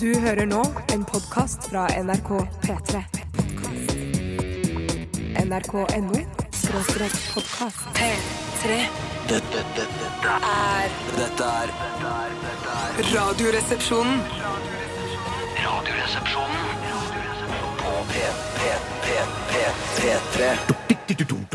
Du hører nå en podkast fra NRK P3. NRK.no skråstrek podkast. P3. Dette, dette, dette, er dette er dette er- dette er Radioresepsjonen. Radioresepsjonen på P, P, P, P, P3.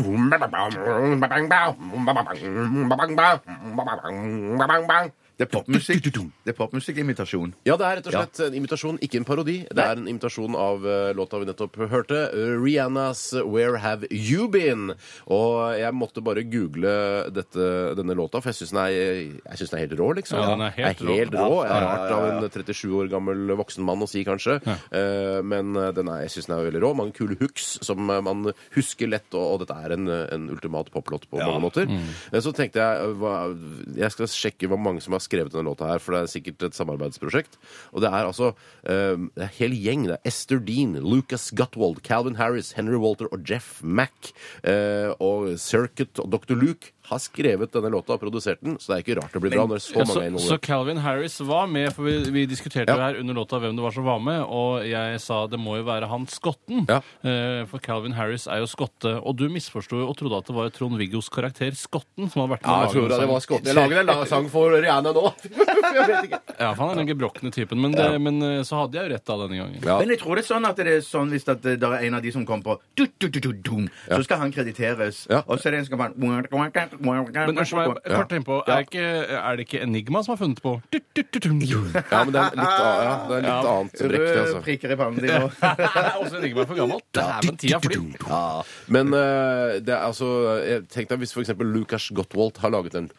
Det er popmusikk. Det er popmusikkimitasjon. Ja, det er rett og slett en imitasjon, ikke en parodi. Det er en imitasjon av eh, låta vi nettopp hørte, eh, Rihannas 'Where Have You Been'. Og jeg måtte bare google dette, denne låta, for jeg syns den, er- jeg synes den er helt rå, liksom. Ja, den er helt Den er helt rå. rå. Ja, ja, Rart ja, av ja. en 37 år gammel voksen mann å si, kanskje. Eh, Men eh, den er, jeg syns den er veldig rå. Mange kule hooks som eh, man husker lett, og, og dette er en, eh, en ultimat poplåt på mange måter. Eh, Så tenkte jeg eh, hva, jeg skal sjekke hvor mange som har skrevet denne låta her, for det er sikkert et samarbeidsprosjekt. Og det er altså eh, det er en hel gjeng. Det er Esther Dean, Lucas Gutwald, Calvin Harris, Henry Walter og Jeff Mack. eh, Og Circuit og Dr. Luke har skrevet denne låta og produsert den, så det er ikke rart det blir bra når så Ja, mange er så, involvert. så Calvin Harris var med, for vi, vi diskuterte Ja. jo her under låta hvem det var som var med, og jeg sa det må jo være han skotten. Ja. Eh, For Calvin Harris er jo skotte, og du misforsto jo og trodde at det var Trond-Viggos karakter Skotten som hadde vært med. Ja, å jeg lage tror den det var sangen. skotten. Jeg lager en la- sang for Rihanna nå. jeg vet ikke. Ja, for han er den gebrokne typen, men, det, men eh, så hadde jeg jo rett da denne gangen. Ja. Men jeg tror det er sånn at det er sånn hvis at det er en av de som kommer på du, du, du, du, dum, Så skal han krediteres. Ja. Og så er det en som kan bare Men unnskyld meg, kort innpå, er, ikke, er det ikke Enigma som har funnet på Du, du, du, du, du. Ja, men det er litt, a- ja, det er litt annet brekk, det, Røde altså. prikker i pannen din nå. Det er også Enigma for gammelt. Dæven, tida flyr. Ja. Men eh, det er altså jeg Tenk deg hvis for eksempel Lucas Gottwald har laget den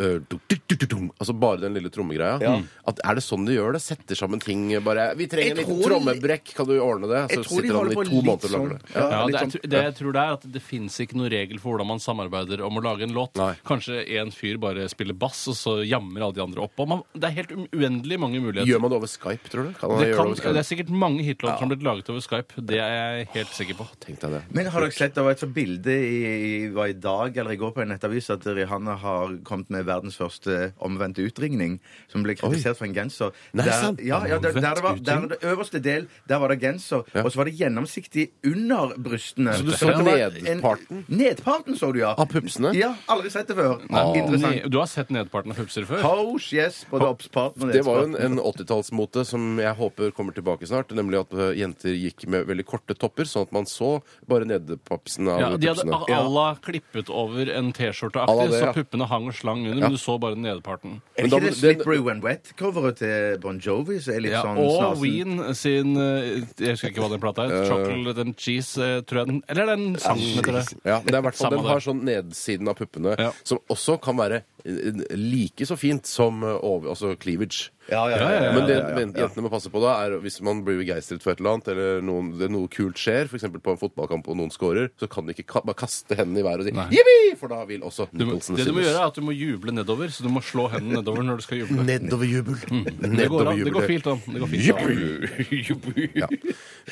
eh, du- du- du- du- du, Altså bare den lille trommegreia. Mm. At, er det sånn de gjør det? Setter sammen ting eh, bare Vi trenger en Jeg liten tror- trommebrekk, kan du ordne det? Jeg Så tror de sitter han holder i på to litt måneder og sånn. lager det. Ja. Ja, det, litt jeg, sånn. tr- det jeg tror det er at det fins ikke noen regel for hvordan man samarbeider om å lage en låt. Nei. Kanskje en fyr bare spiller bass, og så jammer alle de andre opp. Og man, det er helt u- uendelig mange muligheter. Gjør man det over Skype, tror du? Kan man det, gjøre kan, det det over er Skype? sikkert mange hitlåter som har blitt laget over Skype. Det er jeg helt sikker på. Tenk deg det. Men har dere sett det var et sånt bilde i, i, var i dag eller i går på en nettavis at Rihanna har kommet med verdens første omvendte utringning, som ble kritisert for en genser. Nei, der, sant? Ja, ja, der, der, det var, Omvendt der det øverste del, der var det genser, og så var det gjennomsiktig under brystene. Så du så det var nedparten? En, nedparten så du, ja. Av pupsene? Ja, aldri sett det før. Ni- Interessant. Du har sett nedparten av pupser før? Hoes, yes, både oppsparten og Det var jo en, nedparten. en 80-tallsmote som jeg håper kommer tilbake snart, nemlig at eh, jenter gikk med veldig korte topper, sånn at man så bare nedpapsen av Ja, de hadde pupsene. a- alla klippet over en T-skjorte-aktig, Alla det, ja. så puppene hang og slang under, men du så bare nedparten. Er det Men da- ikke det den- Slippery When Wet-coveret til Bon Jovi som er litt Ja, sånn og snasen? Ween sin eh, Jeg husker ikke hva den plata Eh. het. Chocolate and Cheese, eh, tror jeg den Eller den sangen heter det. Ja, men det er i hvert fall Samme Den det. har sånn nedsiden av puppene, Ja. som også kan være eh, like så fint som eh, over, altså cleavage. Ja, ja, ja. ja, Men det ja, ja, ja. jentene må passe på da, er hvis man blir begeistret for et eller annet, eller noen, det, noe kult skjer, f.eks. på en fotballkamp og noen scorer, så kan de ikke ka bare kaste hendene i været og si jippi! For da vil også Du, må- nipplesene det du må gjøre, er at du må juble nedover, så du må slå hendene nedover når du skal juble. Nedoverjubel. Mm. Det går, an. det går fint an. Det går fint an. Ja.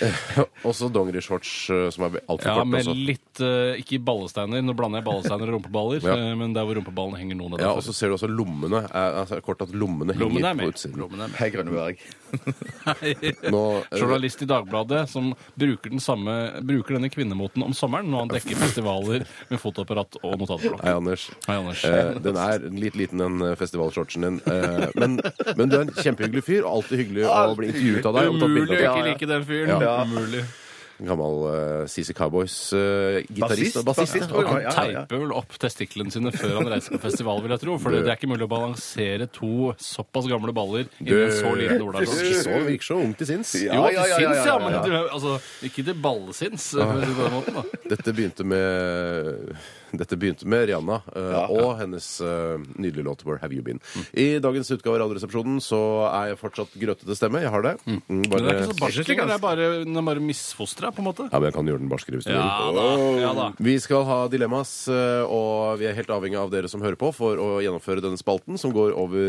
Også dongerishorts eh, som er altfor Ja, kort. med Også. litt eh, Ikke ballesteiner, nå blander jeg ballesteiner og rumpeballer, Ja. eh, men der hvor rumpeballene henger noen av Ja, og så ser du også lommene. Er, altså, kort at lommene henger Lommene er på med. utsiden. Lommene er med. Hei, Grønneberg. Nå, eh, Journalist i Dagbladet som bruker, den samme, bruker denne kvinnemoten om sommeren når han dekker festivaler med fotoapparat og notatblokk. Hei, Anders. Hei, Anders. Eh, den er litt liten, den eh, festivalshortsen din. Eh, men, men du er en kjempehyggelig fyr. og Alltid hyggelig å bli intervjuet av deg. og tatt bilde Umulig å av ikke deg. like den fyren. Ja. Umulig. Gammel eh, CC Cowboys-gitarist og bassist. bassist, tror jeg. Ja. Han ja, ja. teiper vel opp testiklene sine før han reiser på festival, vil jeg tro. For det er ikke mulig å balansere to såpass gamle baller inni en så liten Ikke olabukse. så, virker så ung til sinns. Ja. Jo, det syns, ja, men ja, ja. du er- altså, ikke til ballesins, for å si det på den måten. da. Dette begynte med dette begynte med Rihanna eh, og hennes eh, nydelige låt 'Where Have You Been'. I dagens utgave av Radioresepsjonen så er jeg fortsatt grøtete stemme. Jeg har det. Mm, Men Det er ikke så Jeg synes det er barsel, det er bare, den er bare misfostra. kontra, på en måte. Ja, men jeg kan gjøre den barskere hvis du Ja vil. da, ja da. Vi skal ha dilemmas, eh, og vi er helt avhengig av dere som hører på for å gjennomføre denne spalten, som går over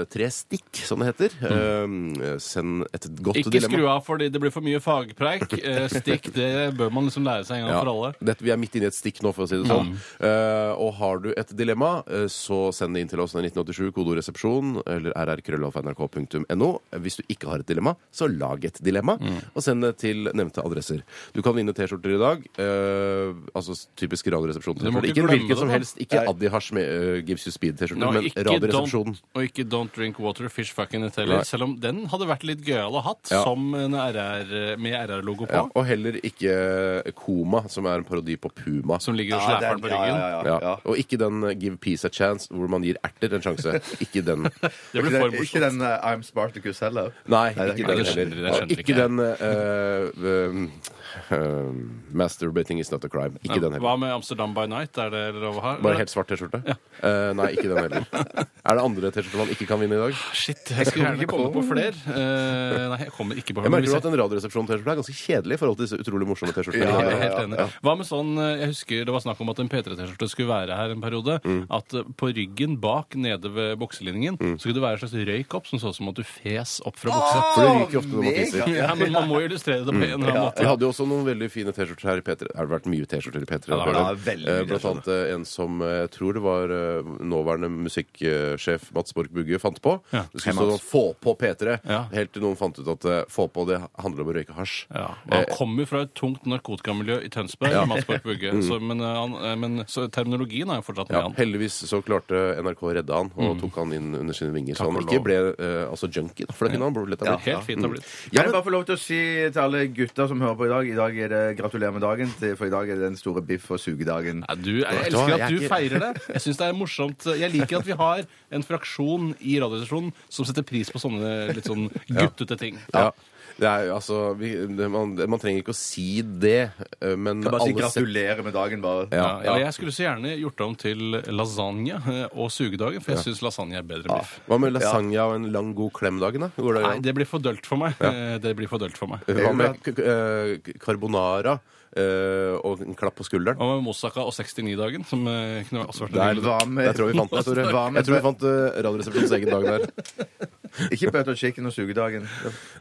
eh, tre stikk, som det heter. Eh, Send et godt Mm. Ikke dilemma. skru av fordi det blir for mye fagpreik. Eh, Stikk, det bør man liksom lære seg en gang for alle. Mm. Dette, vi er midt inne i et stikk nå, for å si det sånn. Eh, og har du et dilemma, eh, så send det inn til oss når det er 1987, kodeord resepsjon, eller rrkrøllalfa.nrk.no. Hvis du ikke har et dilemma, så lag et dilemma, Mm. og send det til nevnte adresser. Du kan vinne T-skjorter i dag. eh, altså typisk Radioresepsjonen. Du må Ikke, ikke ikke glemme hvilken det, som da. helst. Ikke Addi Hasj med eh, Gives You Speed-T-skjorte, Og men ikke Radioresepsjonen. don't- Og ikke Don't Drink Water Fish Fucking It heller, Nei. selv om den hadde vært litt gøyal å hatt Ja. som en RR, med RR-logo på, Ja, og heller ikke Koma, som er en parodi på Puma. som ligger og Ja, slæper den den- på ja, ryggen. ja, ja, Ja. ja. Og ikke den eh, Give Peace a Chance, hvor man gir erter en sjanse. Ikke den. Det Ikke blir for den, ikke morsomt. den eh, I'm Spartacus heller. Nei, det ikke kan den jeg skjønner, heller. jeg Og skjønner ikke ikke. den eh, eh, eh, Masturbating is not a crime. Ikke den heller. Hva med Amsterdam by Night? Er det lov å ha? Bare helt svart T-skjorte? Eh, nei, ikke den heller. Er det andre T-skjorter man ikke kan vinne i dag? Shit, jeg skulle gjerne komme på flere. Eh, nei, jeg kommer ikke Jeg på men merker hvis jo at en Radioresepsjon-T-skjorte er ganske kjedelig i forhold til disse utrolig morsomme T-skjortene. Ja, vi har. jeg er helt enig. Hva med sånn, eh, jeg husker Det var snakk om at en P3-T-skjorte skulle være her en periode. At eh, på ryggen bak nede ved bukselinjen så skulle det være en slags røyk opp som så ut som at du fes opp fra buksa. For det ryker jo ofte når man tisser. Ja, men Man må illustrere det på en eller annen måte. Vi hadde jo også noen veldig fine T-skjorter her i P3. Har det vært mye T-skjorter i P3? Ja, det har opp det. igjennom? Ja, veldig mye Eh, Blant annet eh, en som eh, jeg tror det var eh, nåværende musikksjef Mats Borch Bugge fant på. Ja. Det skulle stå sånn 'Få på P3', Ja. helt til noen fant ut at eh, 'Få på' det handler om å røyke hasj. Eh, Ja, Eh. og Han kommer jo fra et tungt narkotikamiljø i Tønsberg, Mats Borch Bugge, så, men, eh, han, eh, men så terminologien er jo fortsatt med Ja, han. heldigvis så klarte NRK å redde han og tok han inn under sine vinger, så han Mm. Takk og ikke lov. ble eh, altså junkie. da, For det kunne han blitt. Det er Helt Mm. fint det har blitt. Kan jeg bare få lov til å si til alle gutter som hører på i dag I dag er det gratulerer med dagen, til- for i dag er det den store biff- og sugedagen. Ja, du, du jeg hva, elsker at jeg er du ikke- feirer det. Jeg synes det er morsomt. Jeg liker at vi har en fraksjon i Radioresepsjonen som setter pris på sånne litt sånn guttete ting. Ja. Det er, jo, altså, vi, det, man, man trenger ikke å si det, eh, men Bare si alle ser- gratulerer med dagen, bare. Ja, Ja, ja, Jeg skulle så gjerne gjort det om til lasagne eh, og sugedagen, for jeg syns lasagne er bedre enn biff. Hva med lasagne og en lang, god klem-dagen, da? Går det, Nei, det blir for dølt for meg. Eh, Det blir for dølt for meg. Hva med k- eh, k- carbonara eh, og en klapp på skulderen? Og Moussaka og 69-dagen, som eh, kunne også vært en Der, del. Hva med- der tror jeg vi fant det, Tore. Hva med- Jeg tror vi fant eh, Radioresepsjonens egen dag der. Ikke butter chicken og sugedagen.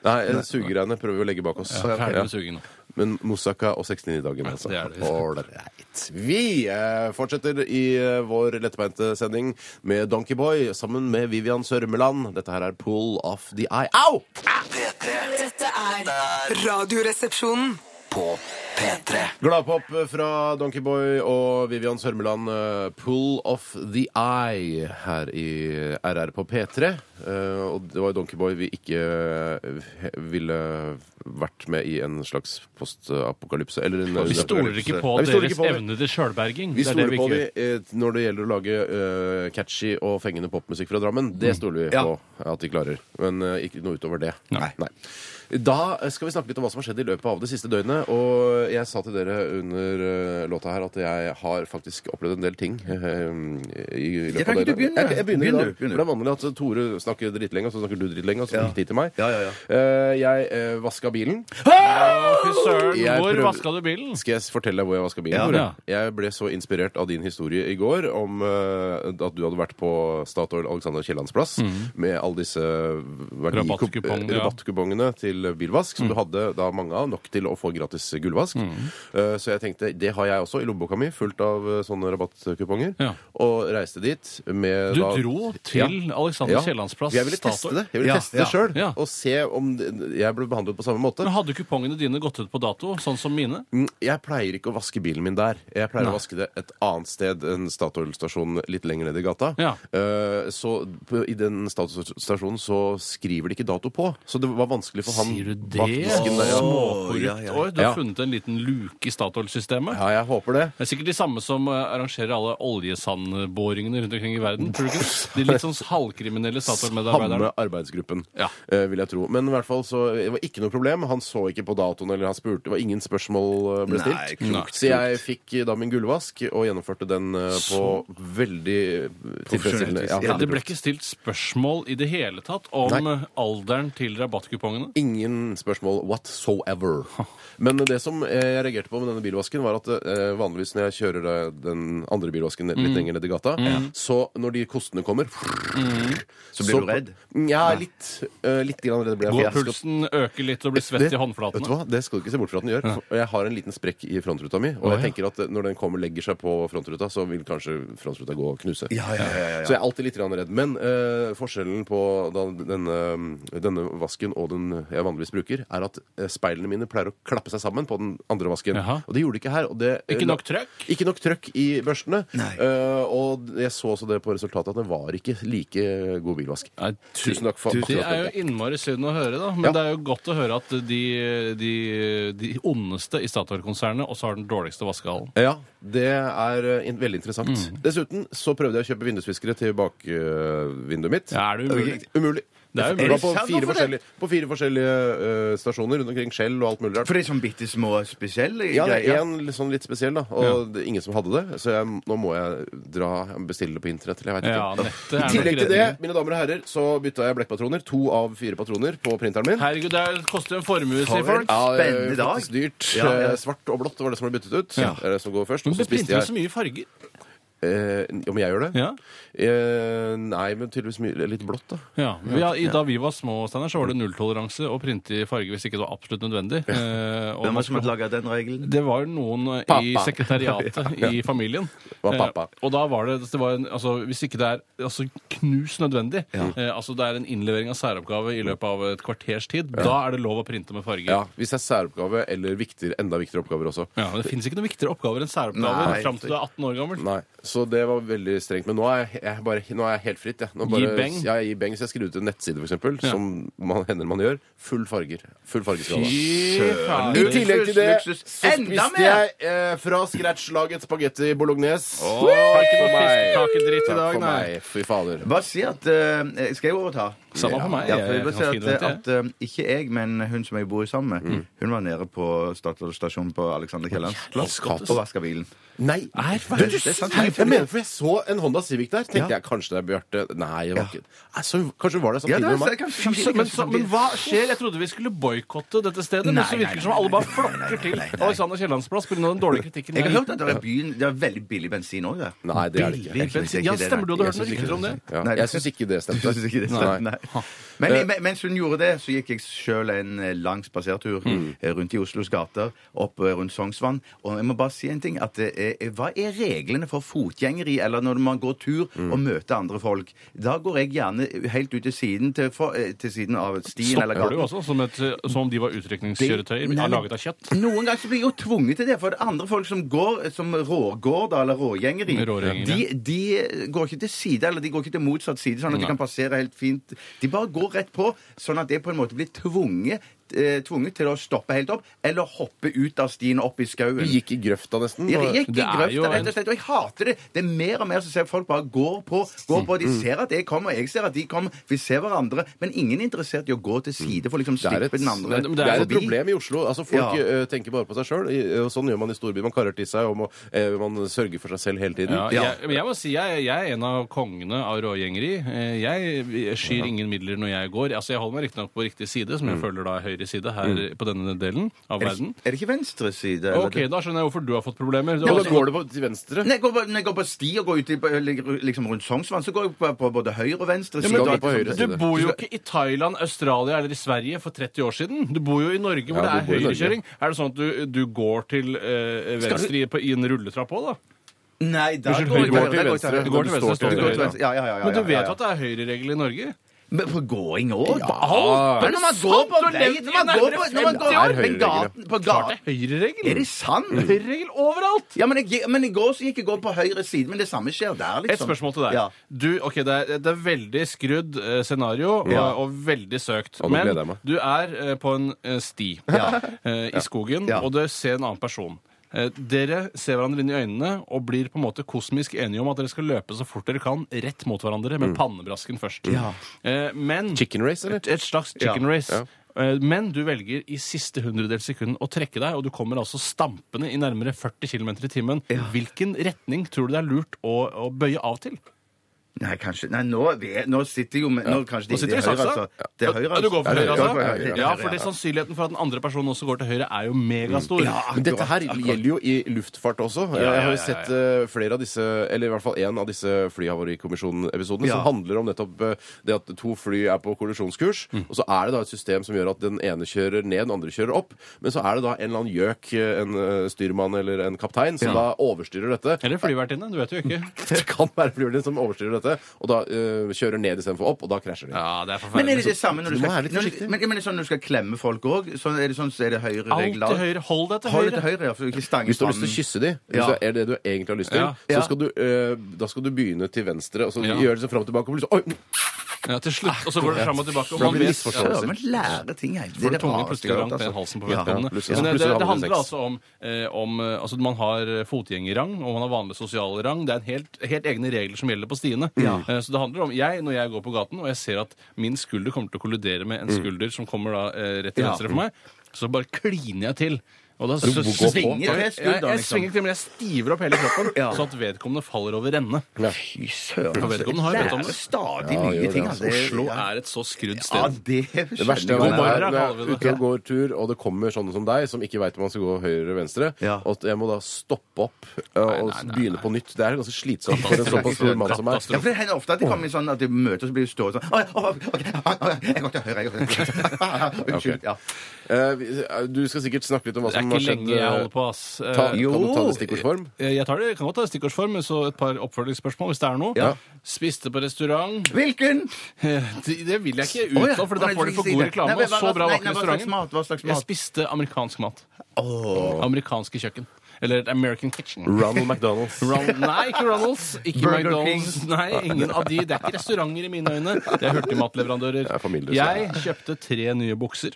Nei, eh, sugegreiene prøver vi å legge bak oss. Ferdig Ja. med suging nå. Men Moussaka og 69-dagen, altså. det er det. Ålreit. Vi eh, fortsetter i eh, vår lettbeinte sending med Donkeyboy sammen med Vivian Sørmeland. Dette her er Pull Off The Eye. Au! P3 Dette er Radioresepsjonen. på P3 Gladpop eh, fra Donkeyboy og Vivian Sørmeland. eh, Pull Off The Eye her i RR på P3. Eh, Og det var jo Donkeyboy vi ikke eh, ville vært med i en slags postapokalypse. Eller en Vi stoler ikke på Nei, vi stoler deres ikke på det. evne til sjølberging. Vi Det er det stoler vi på ikke de gjør. eh, når det gjelder å lage eh, catchy og fengende popmusikk fra Drammen. Det Mm. stoler vi Ja. på at de klarer. Men eh, ikke noe utover det. Nei. Da eh, skal vi snakke litt om hva som har skjedd i løpet av det siste døgnet. Og jeg sa til dere under eh, låta her at jeg har faktisk opplevd en del ting. eh, i, i løpet Ja, kan av ikke du døgnet. begynne? Jeg, jeg begynner, Begynn du, i dag. begynn du. For det er vanlig at eh, Tore snakker dritlenge, og så snakker du dritlenge, og så Ja. gikk de til meg. Ja, ja, ja. Eh, jeg eh, vaska bilen. Å, Fy søren, Jeg hvor prøver- vaska du bilen? Skal jeg fortelle deg hvor jeg vaska bilen? Ja. Tore? Ja. Jeg ble så inspirert av din historie i går om eh, at du hadde vært på Statoil Alexander Kiellands plass med alle disse verdi- Rabattkupong, Mm. ja. Mm. rabattkupongene til bilvask, som du hadde da mange av, nok til å få gratis gullvask. Eh, så jeg tenkte det har jeg også i lommeboka mi, fullt av eh, sånne rabattkuponger, Ja. og reiste dit med Du da- dro til Alexander Kiellands plass, Jeg ville teste Statoil. det Jeg ville Ja, teste ja, det sjøl, ja. og se om det- jeg ble behandlet på samme måte. Men Hadde kupongene dine gått ut på dato, sånn som mine? Mm, Jeg pleier ikke å vaske bilen min der. Jeg pleier Nei. å vaske det et annet sted enn Statoil-stasjonen litt lenger ned i gata. Ja. Eh, så på, i den Statoil-stasjonen så skriver de ikke dato på. Så det var vanskelig for han Sier du det? bak disken der. Ja. Småkorrupt. Ja, ja. Oi, du har Ja. funnet en liten luke i Statoil-systemet. Ja, jeg håper det. Det er sikkert de samme som eh, arrangerer alle oljesandboringene rundt omkring i verden. Tror du ikke? det? De litt sånn halvkriminelle Statoil-medarbeiderne. Samme arbeidsgruppen, Ja. eh, vil jeg tro. Men i hvert fall så det var ikke noe problem. Han så ikke på datoen, eller han spurte. Det var ingen spørsmål eh, ble stilt. Nei, klokt, Nei. Så jeg fikk eh, da min gullvask, og gjennomførte den eh, på veldig eh, Profesjonelt tilfredsstillende. vis. Ja, Ja, Det veldig ble bra. ikke stilt spørsmål i det hele tatt om Nei. eh, alderen til rabattkupongene. Ingen spørsmål whatsoever. Men det som eh, jeg reagerte på med denne bilvasken, var at eh, vanligvis når jeg kjører eh, den andre bilvasken ned- litt lenger ned i gata, så når de kostene kommer Så blir du redd? Ja, litt. eh, litt grann redd ble jeg. for Går jeg skal- pulsen øker litt og blir svett i håndflatene? Vet du hva? Det skal du ikke se bort fra at den gjør. For jeg har en liten sprekk i frontruta mi, og Å, jeg ja. tenker at eh, når den kommer og legger seg på frontruta, så vil kanskje frontruta gå og knuse. Ja, ja, ja, ja, ja. Så jeg er alltid litt grann redd. Men eh, forskjellen på da, denne, denne vasken og den jeg vanligvis bruker, er at eh, speilene mine pleier å klappe seg sammen på den andre vasken. Jaha. Og det gjorde de ikke her. Og det, eh, Ikke nok trøkk? Ikke nok trøkk i børstene. Nei. Eh, og jeg så også det på resultatet at det var ikke like god bilvask. Nei, tu- Tusen takk for tu- Det akkurat er jo dette. innmari synd å høre, da. Men Ja. det er jo godt å høre at de, de, de ondeste i Statoil-konsernet også har den dårligste vaskehallen. Ja, det er eh, in veldig interessant. Mm. Dessuten så prøvde jeg å kjøpe vindusviskere til bakvinduet mitt. Ja, er det umulig? Umulig. Det er Jeg umulig. var på Sant, fire hvorfor det? forskjellige, på fire forskjellige eh, stasjoner rundt omkring. Skjell og alt mulig rart. For det er sånn bitte små spesielle Ja, det er greier. en litt sånn litt spesiell, da. Og det er ingen som hadde det. Så jeg, nå må jeg dra bestille det på internett. Eller jeg vet Ja, ikke. nettet I er nok tillegg til det, redningen. mine damer og herrer, så bytta jeg blekkpatroner. To av fire patroner på printeren min. Herregud, det er- koster jo en formue, sier folk. Ja, det er Spennende dag. faktisk Dyrt. Ja, ja. Eh, Svart og blått var det som ble byttet ut. Ja. Det er det som går først. Men Og så det spiste printer jo jeg så mye farger. eh, Om jeg gjør det? Ja. Eh, nei, men tydeligvis mye, litt blått, da. Ja, vi, har- i, Da vi var små, Steiner, så var det nulltoleranse å printe i farge hvis ikke det var absolutt nødvendig. Eh, Hvem og man var det som skulle- hadde laga den regelen? det var noen eh, i Pappa. sekretariatet i familien. var pappa. Eh, og da var det, det var en, altså, Hvis ikke det er altså, knus nødvendig, eh, altså det er en innlevering av særoppgave i løpet av et kvarters tid, da er det lov å printe med farger. Ja, Hvis det er særoppgave eller viktigere, enda viktigere oppgaver også. Ja, men Det fins ikke noen viktigere oppgaver enn særoppgaver Nei. fram til du er 18 år gammel. Nei, Så det var veldig strengt. Men nå er jeg, jeg, bare, nå er jeg helt fritt. Jeg. Nå bare, Gi beng. Ja, jeg gir beng, så jeg skriver ut en nettside, for eksempel, Ja. som man, hender man gjør. Full farger. Full fargeskala. Fy faen. I tillegg til det så Luksus, luksus. Enda spiste mer! jeg eh, fra scratch laget spagetti bolognese. Åh, har ikke noe fiskkakerdritt i Takk dag, for nei. meg. Fy fader. Bare si at eh, Skal jeg overta? Samme for meg. Ja, for jeg Jeg vil si kan skrive at, det at eh, Ikke jeg, men hun som jeg bor sammen med, hun var nede på Statoil stasjon på Alexander Kiellands plass Jævlig. og vaska bilen. Nei! Er, hva Du, er du, det? er sant. jeg mener, for jeg så en Honda Civic der. Tenkte Ja. jeg kanskje det er Bjarte Nei, det var Ja. ikke Nei, så, Kanskje hun var Ja, der det samtidig er, med meg. kanskje, Fy samtidig, søren, Men, kanskje så- men samtidig. hva skjer? Jeg trodde vi skulle boikotte dette stedet. Nei, men så nei, virker det nei, som alle bare nei, nei, nei, flokker nei, til nei, nei. Alexander Kiellands plass pga. den dårlige kritikken. Jeg har der. hørt at det er, byen, det er veldig billig bensin òg der. Nei, det er det ikke. Billig det er bensin. ikke Ja, det, stemmer, du nei. hadde Jeg synes hørt noen ikke rykter om det. Ja, Nei, jeg syns ikke det Du stemte. synes ikke det Nei. stemmer? Nei. Men i- men- mens hun gjorde det, så gikk jeg sjøl en eh, lang spasertur eh, rundt i Oslos gater, opp eh, rundt Sognsvann. Og jeg må bare si en ting. At, eh, eh, hva er reglene for fotgjengeri, eller når man går tur og møter andre folk? Da går jeg gjerne helt ut til siden, til, for, eh, til siden av stien eller Stopper du også, som, et, eh, som om de var utrykningskjøretøyer Nei, men- laget av kjøtt? Noen ganger så blir jeg jo tvunget til det, for det er andre folk som går som rågår, da, eller rågjengeri, Rågjengere. de, de går ikke til side, eller de går ikke til motsatt side, sånn at Nei. de kan passere helt fint. De bare går rett på, sånn at jeg på en måte blir tvunget, eh, tvunget til å stoppe helt opp, eller hoppe ut av stien opp i skauen. Vi gikk i grøfta, nesten. Jeg gikk Det i er jo grøfta, en- rett og slett. Og jeg hater det. Det er mer og mer som ser folk bare går på. Går på. De Mm. ser at jeg kommer, jeg ser at de kommer. Vi ser hverandre. Men ingen er interessert i å gå til side for å liksom er et- slippe den andre Men- men Det er et forbi. problem i Oslo. Altså, Ja. Folk eh, tenker bare på seg sjøl. Og sånn gjør man i storbyen. Man karrer til seg, og må, eh, man sørger for seg selv hele tiden. Ja, jeg, men jeg må si jeg, jeg er en av kongene av rågjengeri. Eh, Jeg skyr ingen midler når jeg går. Altså, jeg holder meg riktignok på riktig side, som jeg føler da er høyre side her på denne delen av Er Mm. det, verden. ikke- er det ikke venstre side? eller? Ok, da skjønner jeg hvorfor du har fått problemer. Du Ja, har men også da går det på, til venstre. Når jeg, går på, når jeg går på sti og går ut i, liksom rundt Sognsvann, så går jeg på, på både høyre og venstre Ja, side. men og da- alt på høyre sånt. side. Du bor jo ikke i Thailand, Australia eller i Sverige for 30 år siden. Du bor jo i Norge hvor Ja, du det bor i er Norge. høyrekjøring. Er det sånn at du, du går til eh, venstre i, på, i en rulletrapp òg, da? Nei, da Unnskyld, går jeg høyre går til da venstre. Du går til men står venstre, står Jeg til går høyre. til venstre. Ja, ja, ja. ja, Men du ja, vet ja. jo at det er høyreregel i Norge? Men på gåing òg? alt! Men når man går på sant? Du har date, levd i når man går på, når man går, Det er men gaten, på gaten Høyreregel. Er det sant? Høyreregel overalt! Ja, men, jeg, men i går så gikk jeg går på høyre side, men det samme skjer der, Et liksom. spørsmål til deg. Ja. Du, ok, Det er, det er veldig skrudd eh, scenario Ja. og, og veldig søkt. Og nå Men gleder jeg meg. du er eh, på en eh, sti Ja. eh, i skogen, Ja. og du ser en annen person. Eh, Dere ser hverandre inn i øynene og blir på en måte kosmisk enige om at dere skal løpe så fort dere kan rett mot hverandre Mm. med pannebrasken først. Eh, Men Chicken race, eller? Et, et slags chicken Ja. race. Eh, Men du velger i siste hundredel sekund å trekke deg, og du kommer altså stampende i nærmere 40 km i timen. Hvilken retning tror du det er lurt å, å bøye av til? Nei, kanskje Nei, nå, vet- nå sitter jo med nå, kanskje Nå det, sitter det er du i høyre, saksa. altså. Det er høyre, Ja, Du går for Ja, det høyre, er altså? høyre, høyre, høyre, Ja, høyre, fordi sannsynligheten for at den andre personen også går til høyre, er jo megastor. Ja, Men Dette her gjelder jo i luftfart også. Jeg, jeg har jo sett eh, flere av disse, eller i hvert fall én av disse Flyhavarikommisjonen-episodene som Ja. handler om nettopp eh, det at to fly er på kollisjonskurs, og så er det da et system som gjør at den ene kjører ned, den andre kjører opp, men så er det da en eller annen gjøk, eh, en eh, styrmann eller en kaptein, som da overstyrer dette. Eller flyvertinne. Du vet jo ikke. Det kan være flyverdinnen som overstyrer dette, og da eh, kjører ned istedenfor opp, og da krasjer de. Ja, det er Men er forferdelig. det det samme når du Altså, Du må skal, være litt når, du- forsiktig. men, men er det sånn når du skal klemme folk òg? Sånn, er det sånn så er det høyre Alt regler? til høyre. Hold deg til Hold det til høyre. høyre, ja, for du ikke stanger Hvis du har lyst til å fram. kysse de, hvis Ja. det er det du egentlig har lyst til, Ja. Ja. så skal du, eh, da skal du begynne til venstre, og så Ja. gjør det sånn fram og tilbake, og plutselig så- Oi! Ja, til slutt. Og så går det fram og tilbake. Og Da man blir det vet misforstått. Ja, men lære ting hele Får du rareste tunge plutselig jeg har hørt, langt ned altså. halsen på Ja. vedkommende. plutselig- Men det, plutselig det, har det man handler sex. altså om, eh, om eh, altså Man har eh, fotgjengerrang, og man har vanlig sosial rang. Det er en helt, helt egne regler som gjelder på stiene. Eh, så det handler om jeg, når jeg går på gaten og jeg ser at min skulder kommer til å kollidere med en skulder som kommer da eh, rett til Ja. venstre for meg, så bare kliner jeg til. Og da går på. svinger Svinger jeg, det skulderen, jeg, jeg liksom? svinger til, men jeg stiver opp hele kroppen, Ja. så at vedkommende faller over ende. Fy søren. For vedkommende har jo bedt om lærer det. stadig gjør nye det, ting. altså. altså. Det- Oslo ja. er et så skrudd Ja, det sted. Det skjønner verste jeg er God når godt. jeg er- når morgen, jeg er kaller vi det. ute og går tur, og det kommer sånne som deg, som ikke veit om man skal gå høyre eller venstre, Ja. og at jeg må da stoppe opp eh, og nei, nei, begynne på nytt. Det er ganske slitsomt for en såpass stor mann som meg. Katastrofe. Ja, for Det hender ofte at de kommer i sånn at de møtes og blir stående sånn «Å, ja, å, ok, å, å, Jeg går til høyre, jeg går til høyre. Unnskyld. Ja. Eh, vi- Du skal sikkert snakke litt om hva Det er som har ikke skjedd. lenge jeg holder eh, på, ass. Eh, Ta, kan Jo. du ta det i stikkordsform? Eh, Jeg tar det, jeg kan godt ta det i stikkordsform, men så et par oppfølgingsspørsmål hvis det er noe. Ja. Spiste på restaurant Hvilken? Eh, Det det vil jeg ikke uttale, for da får de for god reklame. Og så bra var ikke restauranten. Hva slags Jeg mat? spiste amerikansk mat. Amerikanske kjøkken. Eller American kitchen. Ronald McDonald's. Ron- nei, ikke Ronalds. Ikke Burger McDonald's. King. Nei, ingen av de. Det er ikke restauranter i mine øyne. Det er hurtigmatleverandører. er familiehus, ja. Jeg kjøpte tre nye bukser.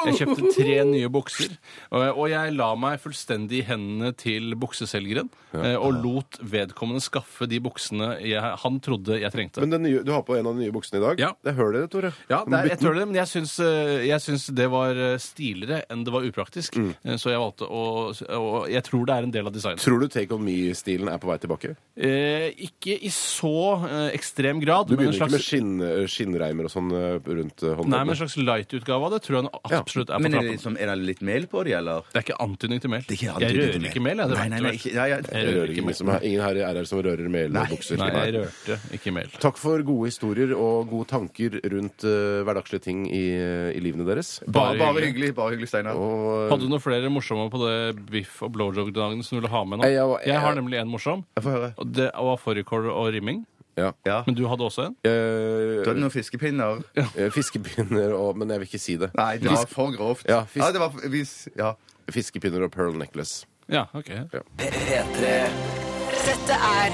Jeg kjøpte tre nye bukser, og og jeg la meg fullstendig i hendene til bukseselgeren eh, og lot vedkommende skaffe de buksene jeg, han trodde jeg trengte. Men den nye, du har på en av de nye buksene i dag. Ja. Det er hull i det, Tore. Ja, Du det må er, jeg bytte tror det, men jeg syns, eh, jeg syns det var eh, stiligere enn det var upraktisk. Eh, Så jeg valgte å Og jeg tror det er en del av designen. Tror du Take On Me-stilen er på vei tilbake? Eh, ikke i så eh, ekstrem grad. Du men en begynner ikke slags, med skinn, eh, skinnreimer og sånn eh, rundt eh, Nei, men en håndleddet? slags light-utgave av det tror jeg nå Ja, absolutt er på Men er det, trappen. liksom, er det litt mel på de, eller? Det er ikke antydning til mel. Det er ikke jeg antydning til rører mel. ikke mel, jeg. Det Nei, nei, vet du nei, vel. ikke- ja, ja. altså. Jeg Jeg rører rører ikke ingen, mel. som er, ingen her i RR som rører mel og bukser. Nei, jeg Nei. rørte ikke mel. Takk for gode historier og gode tanker rundt eh, hverdagslige ting i, eh, i livene deres. Bare, Bare bare hyggelig. hyggelig, bare hyggelig, Steinar. Og Hadde du noen flere morsomme på det biff- og blowjob-dagen som du ville ha med nå? Jeg- jeg- Jeg har nemlig en morsom. Jeg får høre. Og det var fårikål og rimming. ja. Ja. Men du hadde også en? Du hadde Eh, noen fiskepinner. eh, Fiskepinner og Men jeg vil ikke si det. Nei, det var for grovt. Ja, fisk- det var hvis Ja. Fiskepinner og pearl necklace. Ja, ok. P3 Dette er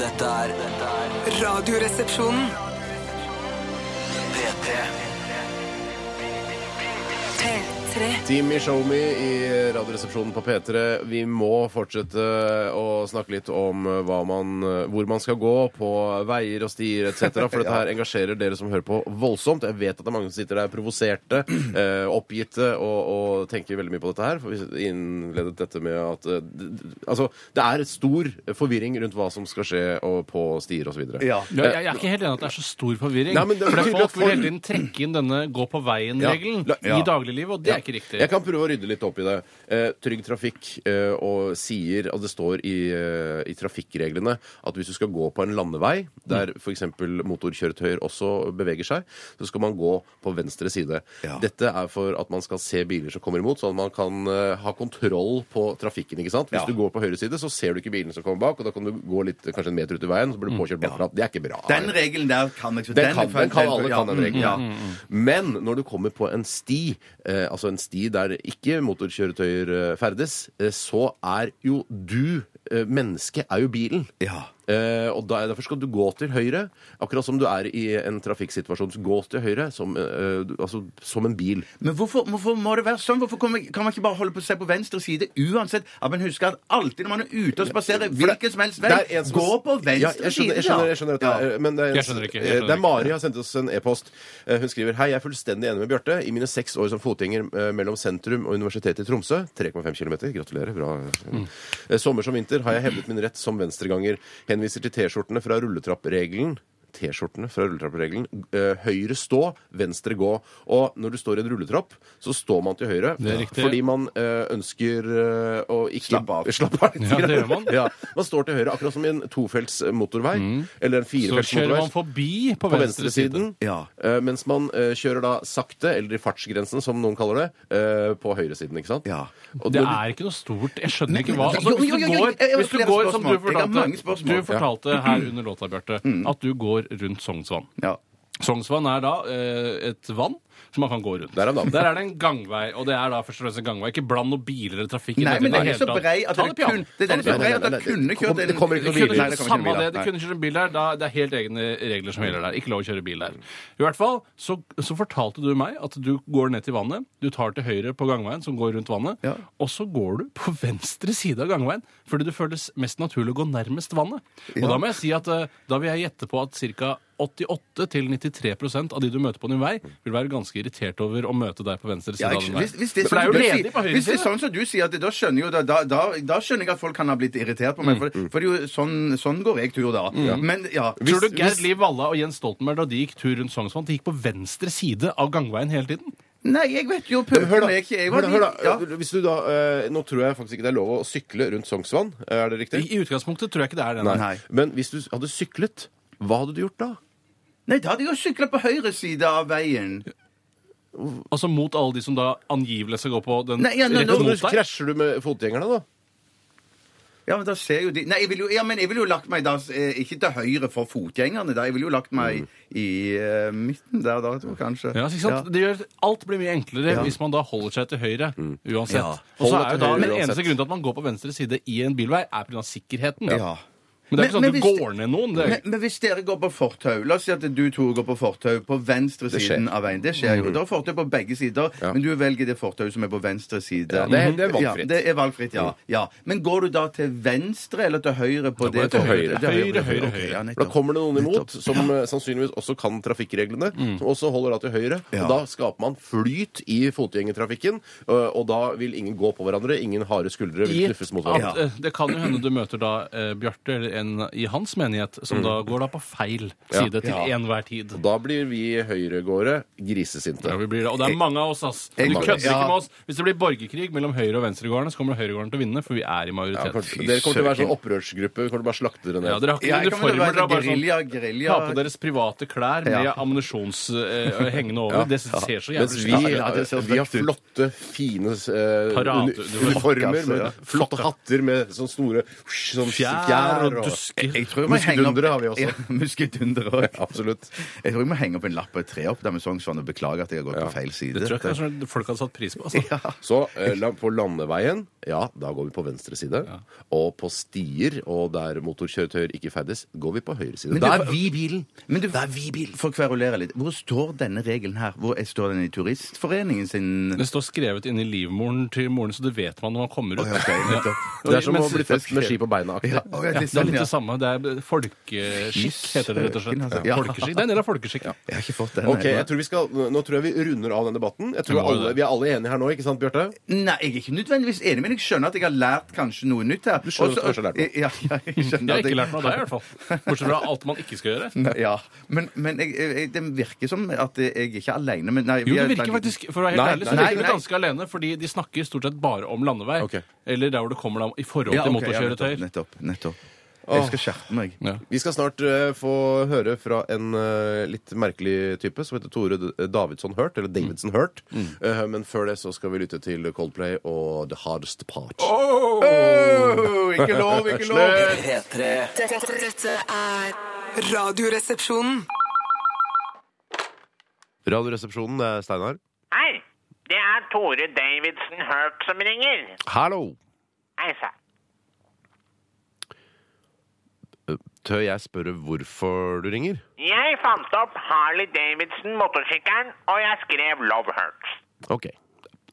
Dette er dette er Radioresepsjonen. P3 P3. Team i Show Me i Radioresepsjonen på P3. Vi må fortsette å snakke litt om hva man, hvor man skal gå på veier og stier etc. For dette her engasjerer dere som hører på, voldsomt. Jeg vet at det er mange som sitter der provoserte, eh, oppgitte og, og tenker veldig mye på dette her. For vi innledet dette med at eh, d- d- Altså, det er stor forvirring rundt hva som skal skje og på stier osv. Ja. Ja, jeg, jeg er ikke helt enig i at det er så stor forvirring. Nei, men det er for det er tydelig at folk vil folk- hele tiden trekke inn denne gå på Ja. veien-regelen La- i ja. dagliglivet, og det Ja. er er ikke riktig. Jeg kan prøve å rydde litt opp i det. Eh, Trygg Trafikk eh, og sier, og det står i, eh, i trafikkreglene, at hvis du skal gå på en landevei, der f.eks. motorkjøretøyer også beveger seg, så skal man gå på venstre side. Ja. Dette er for at man skal se biler som kommer imot, sånn at man kan eh, ha kontroll på trafikken. ikke sant? Hvis Ja. du går på høyre side, så ser du ikke bilene som kommer bak, og da kan du gå litt, kanskje en meter ut i veien, så blir du påkjørt bakfra. Det er ikke bra. Den regelen der kan jeg så Den er kan, feil- den Mm, kan alle ja. kan den regelen. Ja. Men når du kommer på en sti, eh, altså en sti der ikke motorkjøretøyer eh, ferdes, eh, så er jo du eh, Mennesket er jo bilen. Ja. Eh, og da, Derfor skal du gå til høyre, akkurat som du er i en trafikksituasjon. så Gå til høyre som, eh, du- altså, som en bil. Men hvorfor, hvorfor må det være sånn? Hvorfor kan man, kan man ikke bare holde på seg på venstre side uansett? At man husker at alltid når man er ute og spaserer hvilken som helst vei, Det er en som- gå på venstre ja, jeg skjønner, jeg side, skjønner, jeg skjønner at det er, men det er, Jeg skjønner ikke, jeg eh, skjønner det er ikke. Mari har sendt oss en e-post. Eh, Hun skriver Hei, jeg er fullstendig enig med Bjarte. I mine seks år som fotgjenger eh, mellom sentrum og Universitetet i Tromsø 3,5 km. Gratulerer. Bra. Mm. Eh, Sommer som vinter har jeg hevdet min rett som venstreganger. Henviser til T-skjortene fra rulletrappregelen. T-skjortene fra rulletrappregelen. Eh, Høyre stå, venstre gå. Og når du står i en rulletrapp, så står man til høyre Det er riktig. fordi man eh, ønsker eh, å ikke Slappe av. Slappe av litt Ja, det grann. gjør man. Mm. Ja, man står til høyre, akkurat som i en tofelts motorvei. Eller en Så firefelts kjører motorvei. man forbi på, På venstre side. venstresiden. Ja. eh, Mens man eh, kjører da sakte, eller i fartsgrensen, som noen kaller det, eh, på høyresiden. ikke sant? Ja. Og Det når du- er ikke noe stort. Jeg skjønner ikke hva men- altså, jo, Hvis jo, du jo, jo, går, jeg- jeg har hvis du flere går som du spørsmål. Jeg har mange fortalte, spørsmål. Mm. du fortalte her under låta, Bjarte, at du går rundt Sognsvann. Ja. Sognsvann er da eh, et vann som man kan gå rundt. Der er vann. det en gangvei, og det er da først og fremst en gangvei. Ikke bland noe biler eller trafikk. i Nei, det men den hele er så tatt. brei at Ta det det piano. kun, det er den Ta så det brei piano. at det kunne kjørt Det kommer ikke noen Det kunne biler. Nei, det ikke, kommer samme ikke det, noen det biler. kunne ikke kjøre en bil der. Da, det er helt egne regler som gjelder der. Ikke lov å kjøre bil der. I hvert fall så, så fortalte du meg at du går ned til vannet, du tar til høyre på gangveien som går rundt vannet, Ja. og så går du på venstre side av gangveien fordi det føles mest naturlig å gå nærmest vannet. Og da må jeg si at eh, da vil jeg gjette på at ca. 88-93 av de du møter på din vei, vil være ganske irritert over å møte deg på venstre side Ja, av jeg, din hvis, hvis vei. det, For det er jo sånn- ledig på høyre hvis det er side. sånn som du sier, at det, da skjønner jeg jo da, da, da, da skjønner jeg at folk kan ha blitt irritert på meg. For, for det er jo sånn, sånn går jeg tur da. Men ja Tror du Gerd Liv Valla og Jens Stoltenberg da de gikk tur rundt Sognsvann, de gikk på venstre side av gangveien hele tiden? Nei, jeg vet jo Men Hør da, pøbelen er ikke jeg var hør da, hør da. Ja. Hvis du da eh, Nå tror jeg faktisk ikke det er lov å sykle rundt Sognsvann. eh, Er det I, riktig? i utgangspunktet tror jeg ikke det er det. Nei. nei. Nei. Men hvis du hadde syklet, hva hadde du gjort da? Nei, da hadde jeg jo sykla på høyre side av veien. Altså mot alle de som da angivelig skal gå på den Nei, ja, nå- nå- rette Nå mot deg. krasjer du med fotgjengerne, da. Ja, men da ser jo de Nei, jeg ville jo, ja, men jeg ville jo lagt meg da eh, ikke til høyre for fotgjengerne. da. Jeg ville jo lagt meg i eh, midten der da, tror jeg kanskje. Ja, så ikke sant? Ja. Det gjør, alt blir mye enklere hvis man da holder seg til høyre Mm. uansett. Og så Hold deg er jo til da høyre Den uansett. eneste grunnen til at man går på venstre side i en bilvei, er pga. sikkerheten. Ja. Men det er ikke sånn Men- at du men hvis- går ned noen. Det er, Men, men hvis dere går på fortau La oss si at du to går på fortau på venstre siden av veien. Det Mm. skjer jo. Da er fortau på begge sider, men du velger det fortauet som er på venstre side. Ja, det er- det er valgfritt. Mm. Ja, det er valgfritt, ja. ja. Men går du da til venstre eller til høyre på det? jeg til fortauet? høyre. Til Høyre, høyre, Ok, ja, For nettopp. Da kommer det noen imot som eh, sannsynligvis også kan trafikkreglene, Mm. som også holder da til høyre. Ja. Og da skaper man flyt i fotgjengertrafikken, ø, og da vil ingen gå på hverandre, ingen harde skuldre vil Gitt knuffes mot at, hverandre. eh, det kan jo hende du møter da eh, Bjarte eller en i hans menighet, som da går da på feil side til Mm. Ja. enhver tid. Da blir vi høyregåere Ja, grisesinte. vi blir det. Og det er mange av oss, ass. Du Jeg- kødder ikke Ja. med oss. Hvis det blir borgerkrig mellom høyre- og venstregårdene, så kommer høyregårdene til å vinne, for vi er i Ja, majoritet. kanskje- dere kommer til å være sånn søken. opprørsgruppe. Vi kommer til å bare slakte dere ned. Ja, dere Ja, har ikke jeg noen kommer til å uniformer. være Dere har bare sånn gerilja, gerilja Ta på deres private klær med Ja. ammunisjons eh, eh, hengende over. Ja. Det ser så Mens jævlig vi, ut. ja, det ser vi har frekt ut. flotte, fine eh, Parade- uni- uniformer Flokk, altså, med ja. flotte hatter med sånn store sånn Fjær fjær og dusker. Jeg tror jeg må henge opp- Muskelundere har vi også. Ja, muskelundere også. Absolutt. Jeg tror jeg må henge opp en lapp og et tre opp der med Sognsvann og beklage at jeg har gått på feil side. Det tror jeg kanskje folk hadde satt pris på. Altså. Så eh, la- på landeveien, ja, da går vi på venstre side. Og på stier og der motorkjøretøyer ikke ferdes, går vi på høyre side. det Da var- er vi bilen! Men du, For å kverulere litt, hvor står denne regelen her? Hvor Står den i Turistforeningen sin Det står skrevet inni livmoren til moren, så det vet man når man kommer ut. Å, ja, ok, nettopp. Ja. Det er som å Mens- bli født med ski på beina. Ja, å, aktig ja, det er det er sånn, litt ja. det samme. Det er folkeskikk, heter det rett og Søken, slett. altså. Ja. Folkeskikk. Det er en del av folkeskikk. Ja. Jeg har ikke fått den. Ok, ennå. jeg tror vi skal, Nå tror jeg vi runder av den debatten. Jeg tror Vi må alle, det. Vi er alle enige her nå, ikke sant, Bjarte? Nei, jeg er ikke nødvendigvis enig, men jeg skjønner at jeg har lært kanskje noe nytt her. Du skjønner at du kanskje har lært noe. Ja, ja, jeg Jeg skjønner har at ikke lært noe av deg, i hvert fall. Bortsett fra alt man ikke skal gjøre. Nei, Ja, men, men jeg, jeg, det virker som at jeg er ikke alene, men nei, Jo, vi det er- virker faktisk For å være helt Nei, ærlig, nei, så virker det nei. ganske alene, fordi de snakker stort sett bare om landevei. Ok. Eller der hvor det kommer da i forhold Ja, til ok, ja, motorkjøretøyer. Nettopp. nettopp, nettopp. Jeg skal skjerpe meg. Ja. Vi skal snart eh, få høre fra en eh, litt merkelig type som heter Tore D- Davidsson Hurt, eller Davidson Hurt. Mm. Eh, men før det så skal vi lytte til Coldplay og The Hardest Part. Åh, ikke lov, ikke lov! P3 Dette, dette er Radioresepsjonen. Radioresepsjonen, det er Steinar. Hei, det er Tore Davidsen Hurt som ringer. Hallo! Hei sann. Tør jeg spørre hvorfor du ringer? Jeg fant opp Harley Davidson motorsykkelen, og jeg skrev Love Hurts. Ok.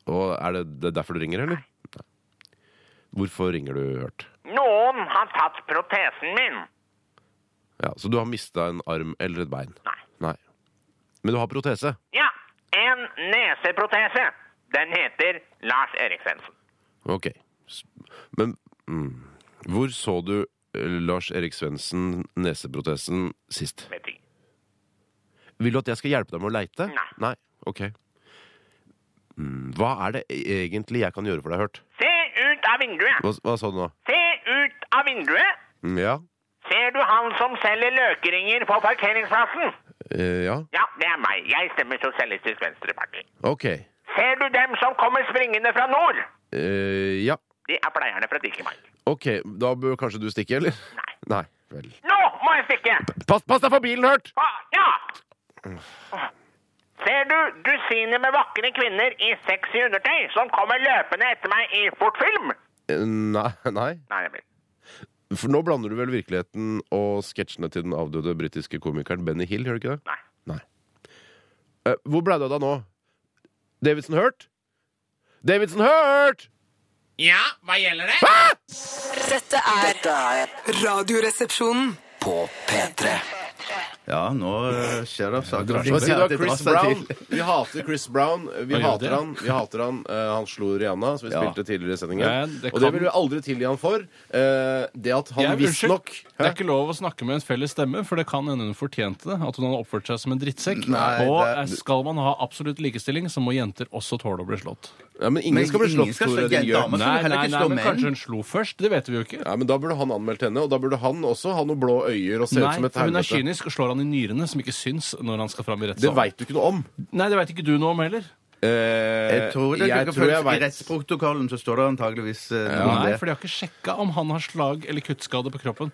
Og er det, det er derfor du ringer, eller? Nei. Hvorfor ringer du, Hurt? Noen har tatt protesen min. Ja, så du har mista en arm eller et bein? Nei. Nei. Men du har protese? Ja, en neseprotese. Den heter Lars Eriksensen. Ok. S- Men mm, hvor så du eh, Lars Erik Svendsen neseprotesen sist? Vet ikke. Vil du at jeg skal hjelpe deg med å leite? Nei. Nei? Ok. Mm, hva er det egentlig jeg kan gjøre for deg, Hørt? Se ut av vinduet. Hva, hva sa du nå? Se ut av vinduet. Mm, ja. Ser du han som selger løkeringer på parkeringsplassen? Eh, ja. Ja, det er meg. Jeg stemmer Sosialistisk Venstreparti. Ok. Ser du dem som kommer springende fra nord? Eh, ja. De er pleierne fra Dikemark. Ok, da bør kanskje du stikke, eller? Nei. Nei. Vel. Nå må jeg stikke! Pass, pass deg for bilen, Hørt! Ah, ja! Ser du dusiner med vakre kvinner i sexy undertøy som kommer løpende etter meg i fort film? Eh, Nei, nei. Nei, det blir For nå blander du vel virkeligheten og sketsjene til den avdøde britiske komikeren Benny Hill, gjør du ikke det? Nei. Nei. Eh, hvor ble det av deg nå? Davidson Hurt? Davidson Hurt! Ja, hva gjelder det? Dette er Dette er Radioresepsjonen. på P3 Ja, nå eh, skjer det saker. Hva sier du av Det drar Chris seg Brown? til. Vi hater Chris Brown. Vi Hva gjør hater det? han. Vi hater han. Eh, han slo Rihanna, som vi Ja. spilte tidligere i sendingen. Ja, det Og det kan- vil vi aldri tilgi han for. Eh, det at han Jeg- unnskyld, visstnok Det er ikke lov å snakke med en felles stemme, for det kan hende hun fortjente det. At hun hadde oppført seg som en drittsekk. Nei, og det er- eh, skal man ha absolutt likestilling, så må jenter også tåle å bli slått. ja, Men ingen Men skal bli ingen slått, skal slå Tore. din jenta, gjøk. men- så Nei, vil heller nei, ikke nei, slå men menn. kanskje hun slo først? Det vet vi jo ikke. Ja, men Da burde han anmeldt henne, og da burde han også ha noen blå øyer og se Nei, ut som et for hun er helvete. kynisk og slår han i nyrene, som ikke syns når han skal fram i Det rettssalen. veit du ikke noe om. Nei, det veit ikke du noe om heller. Eh, Jeg tror det jeg jeg tror jeg I vet. rettsprotokollen så står det antageligvis eh, noe om Nei, det. for de har ikke sjekka om han har slag eller kuttskade på kroppen.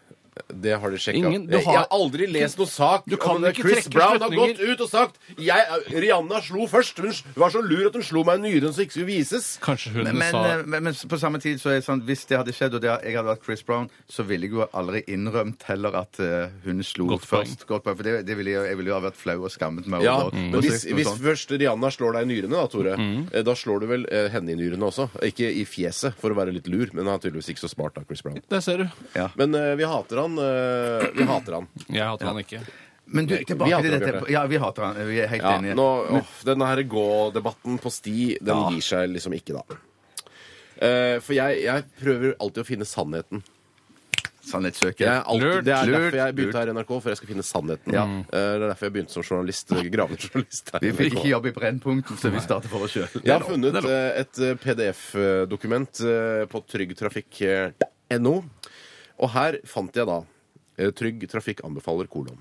Det har de sjekka. Ingen- du Jeg- har- Jeg har aldri lest noe sak. Du kan om det. ikke Chris trekke Brown har slutninger. gått ut og sagt jeg, Rihanna slo først. Hun var så lur at hun slo meg i nyren så ikke skulle vises. Kanskje hun Men, sa eh, men, men på samme tid så er det sånn, hvis det hadde skjedd, og det, jeg hadde vært Chris Brown, så ville jeg jo aldri innrømt heller at eh, hun slo Godt poeng. først. Godt poeng. For det, det ville jeg, jeg ville jo ha vært flau og skammet meg Ja, Mm. over. men Og så- Hvis, og hvis sånn. først Rihanna slår deg i nyrene, da, Tore, eh, da slår du vel eh, henne i nyrene også. Ikke i fjeset, for å være litt lur, men han er tydeligvis ikke så smart, da, Chris Brown. Der ser du. Men eh, vi hater han. eh, vi hater han. Jeg hater han ikke. Men du, Nei, vi tilbake hater til han, dette. Bjarte. Ja, vi hater han. Vi er helt Ja, enige. nå, åh, denne her gå-debatten på sti, den gir seg liksom ikke, da. Eh, for jeg, jeg prøver alltid å finne sannheten. Sannhetssøker. Jeg er alltid, Lurt, det er lurt, derfor jeg begynte her i NRK, for jeg skal finne sannheten. Eh, det er derfor jeg begynte som journalist. eh, Gravejournalist her Vi i fikk ikke NRK. jobb i Brennpunkt, så vi starter for oss sjøl. Jeg har funnet eh, et eh, PDF-dokument eh, på tryggtrafikk.no, og her fant jeg da eh, Trygg Trafikk anbefaler kolon.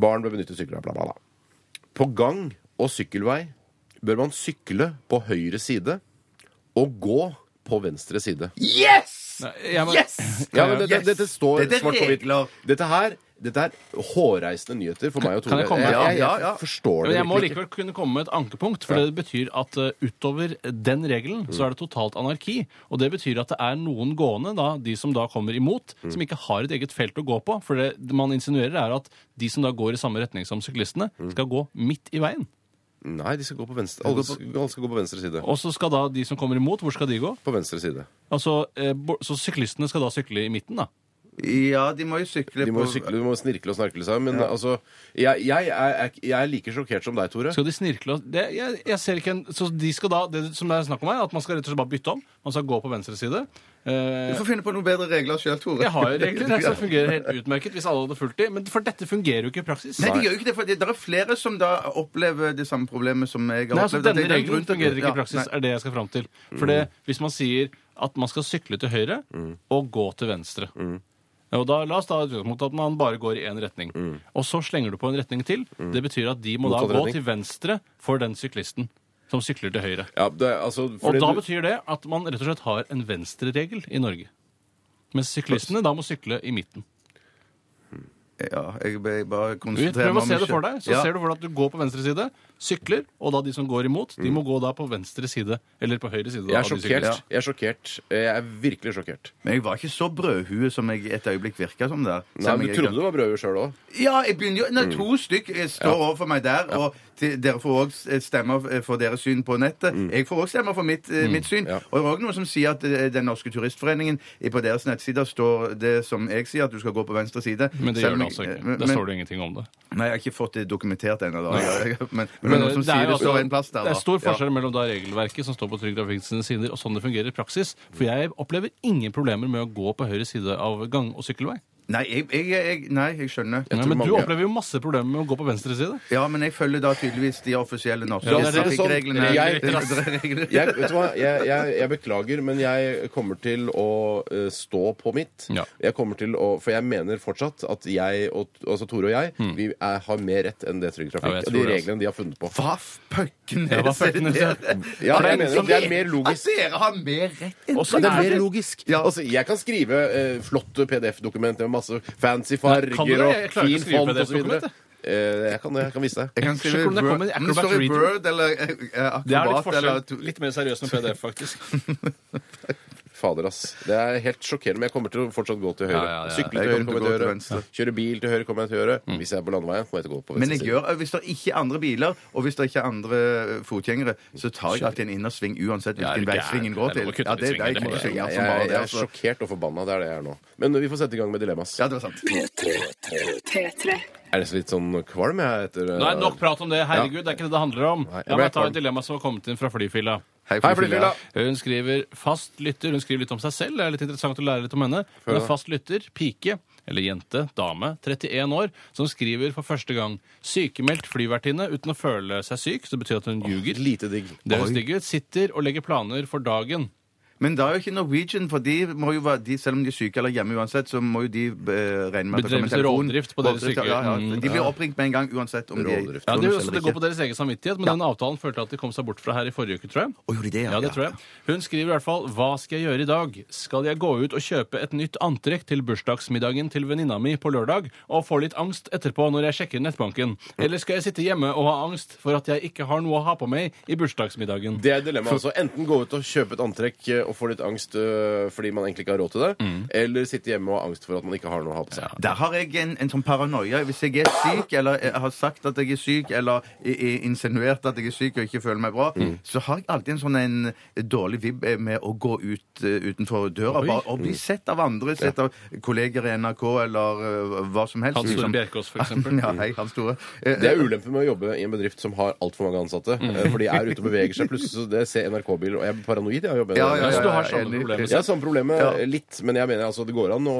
Barn bør benytte sykler, bla, bla, bla. På gang- og sykkelvei bør man sykle på høyre side og gå på venstre side. Nei, jeg må- Ja, men dette, Yes! dette står Dette er svart på hvitt. regler. Dette her dette er hårreisende nyheter for meg og Kan Tore. jeg komme? jeg, Ja, ja, ja. forstår Men det jeg må virkelig ikke. likevel kunne komme med et ankepunkt, for det betyr at eh, utover den regelen så er det totalt anarki. Og det betyr at det er noen gående, da, de som da kommer imot, som ikke har et eget felt å gå på. For Mm. det, det man insinuerer er at de som da går i samme retning som syklistene, skal gå midt i veien. Nei, de skal gå på venstre. Alle, alle skal gå på venstre side. Og så skal da de som kommer imot, hvor skal de gå? På venstre side. Altså, eh, bo- så syklistene skal da sykle i midten, da? Ja, de må jo sykle De må på jo sykle, de må snirkle og snarkle seg. Men altså, jeg, jeg, er, er- jeg er like sjokkert som deg, Tore. Skal de snirkle og det, jeg, jeg ser ikke en Så de skal da Det som det er snakk om her, at man skal rett og slett bare bytte om. Man skal gå på venstre side. Du Eh, får finne på noen bedre regler sjøl, Tore. jeg har jo regler her som fungerer helt utmerket hvis alle hadde fulgt de, men for dette fungerer jo ikke i praksis. Nei, de gjør jo ikke det, for det det er flere som da opplever det samme problemet som jeg har Nei, altså opplevd. Denne Det er grunn regelen til- fungerer Ja, ikke i praksis, nei. er det jeg skal fram til. For det, hvis man sier at man skal sykle til høyre Mm. og gå til venstre og da, La oss da ha et utgangspunkt at man bare går i én retning. Mm. Og så slenger du på en retning til. Det betyr at de må da Motsatt gå retning. til venstre for den syklisten som sykler til høyre. Ja, det, er- altså, Og fordi da du- betyr det at man rett og slett har en venstreregel i Norge. Mens syklistene da må sykle i midten. Ja, jeg b- bare konsentrerer Prøv å se meg det for deg. Så Ja. ser du for deg at du går på venstre side, sykler, og da de som går imot, de Mm. må gå da på venstre side, eller på høyre side. jeg Da, er av de sjokkert. syklistene. Jeg er sjokkert. Jeg er virkelig sjokkert. Men jeg var ikke så brødhue som jeg et øyeblikk virka som der. Nei, men Du Mm. trodde du var brødhue sjøl òg. Ja, jeg begynner jo Når to stykk eh, står overfor meg der, og til, dere får òg stemmer eh, for deres syn på nettet. Jeg får òg stemmer for mitt, eh, mitt syn. Mm. ja. Og det er òg noen som sier at eh, Den norske turistforeningen eh, på deres nettsider står det som jeg sier, at du skal gå på venstre side. Men det Selv gjør om det jeg- altså eh, ikke. men- Der står det ingenting om det. Nei, jeg har ikke fått det dokumentert ennå. da. Jeg- jeg- Men, men, men noen som er sier jo det altså- står en plass der, da. det er stor Ja. forskjell mellom da regelverket som står på Trygg Trafikk sine sider, og sånn det fungerer i praksis. For jeg opplever ingen problemer med å gå på høyre side av gang- og sykkelvei. Nei, jeg, jeg, jeg, nei, jeg skjønner. Nei, tror men du mange- opplever jo masse problemer med å gå på venstre side. Ja, men jeg følger da tydeligvis de offisielle norske Ja, det er det. trafikkreglene. Jeg- Sånn. Jeg- Jeg, vet du hva? Jeg, jeg, jeg beklager, men jeg kommer til å eh, stå på mitt. Ja. Jeg kommer til å, For jeg mener fortsatt at jeg og altså Tore og jeg vi er, har mer rett enn det Trygg Hmm. Ja, Trafikk jeg og tror de det, altså. reglene de har funnet på. Hva fucken Ja, hva fucken er det? Ja, jeg Men mener at det er mer logisk. At dere har mer rett enn Og så Men det er er mer det- logisk. Altså, jeg kan skrive eh, flotte PDF-dokumenter med masse fancy farger Kan du det? Jeg og klarer ikke å fin skrive font osv. PDF-dokument, jeg. Jeg kan det. Jeg kan vise deg. Jeg kan Sjekk skrive hvordan det Word- kommer i Men det står i Acrobat Reader. Word eller eh, eh, Det er litt Acrobat eller forskjell. Litt mer seriøst med PDF, faktisk. Fader, ass. Det er helt sjokkerende, men jeg kommer til å fortsatt gå til høyre. Ja, ja, ja. Sykle Jeg til høyre, kommer til å gå kommer jeg til til høyre. venstre. Mm. Kjøre bil til høyre, kommer jeg til høyre. Hvis jeg er på landeveien, kommer jeg til å gå på Men venstre jeg side. gjør, hvis det ikke er andre biler, og hvis det ikke er andre eh, fotgjengere, så tar jeg alltid en innersving uansett Ja, er hvilken du vei gæren? svingen Det går er til. lov å kutte Ja, litt det, det svinger, er det. kuttesving. Jeg, Ja, som bare jeg, det. jeg er Altså. sjokkert og forbanna. Det er det jeg er nå. Men vi får sette i gang med dilemmas. Ja, det var sant. Jeg er nesten litt sånn kvalm, jeg, etter Nei, nok prat om det. Herregud, det er ikke det det handler om. Nei, jeg La ble meg ta et kvalm. dilemma som har kommet inn fra flyfilla. Hei, flyfilla! Hun skriver fast lytter. Hun skriver litt om seg selv. Det er litt interessant å lære litt om henne. Hun er fast lytter, pike, eller jente, dame, 31 år, som skriver for første gang sykemeldt flyvertinne uten å føle seg syk. Så det betyr at hun ljuger. Lite digg. Det høres digg ut. Sitter og legger planer for dagen. Men da er jo ikke Norwegian, for de må jo være, de, selv om de er syke eller hjemme uansett, så må jo de eh, regne med at det kommer Bedrivelse en telefon. rovdrift på deres Rovdrift, ja, ja, ja. sykehus. De blir oppringt med en gang uansett om de er i Rovdrift. Ja, det, turnus er jo- så eller det går ikke. på deres egen samvittighet, men den avtalen følte at de kom seg bort fra her i forrige uke, tror jeg. Å, gjorde de det, ja, ja, det ja. tror jeg. Hun skriver i hvert fall Hva skal jeg gjøre i dag? Skal jeg gå ut og kjøpe et nytt antrekk til bursdagsmiddagen til venninna mi på lørdag og få litt angst etterpå når jeg sjekker nettbanken? Eller skal jeg sitte hjemme og ha angst for at jeg ikke har noe å ha på meg i bursdagsmiddagen? Det er dilemmaet. altså. Enten gå ut og kjøpe et antrekk eh, og få litt angst øh, fordi man egentlig ikke har råd til det, eller sitte hjemme og ha angst for at man ikke har noe å ha på seg. Der har jeg en, en sånn paranoia. Hvis jeg er syk, eller eh, har sagt at jeg er syk, eller i- i- insinuert at jeg er syk og ikke føler meg bra, Mm. så har jeg alltid en sånn en dårlig vibb eh, med å gå ut eh, utenfor døra bare, og Mm. bli sett av andre, sett av kolleger i NRK eller eh, hva som helst. Hans Store Bjerkås, for eksempel. ja, hei, Hans Store. Eh, Det er ulempen med å jobbe i en bedrift som har altfor mange ansatte. Mm. eh, For de er ute og beveger seg. Plutselig så det ser NRK-biler, og jeg blir paranoid av å jobbe i Ja, det. ja, ja, så du har ja, samme enig. problemet Jeg har samme problemet eh, litt, men jeg mener altså det går an å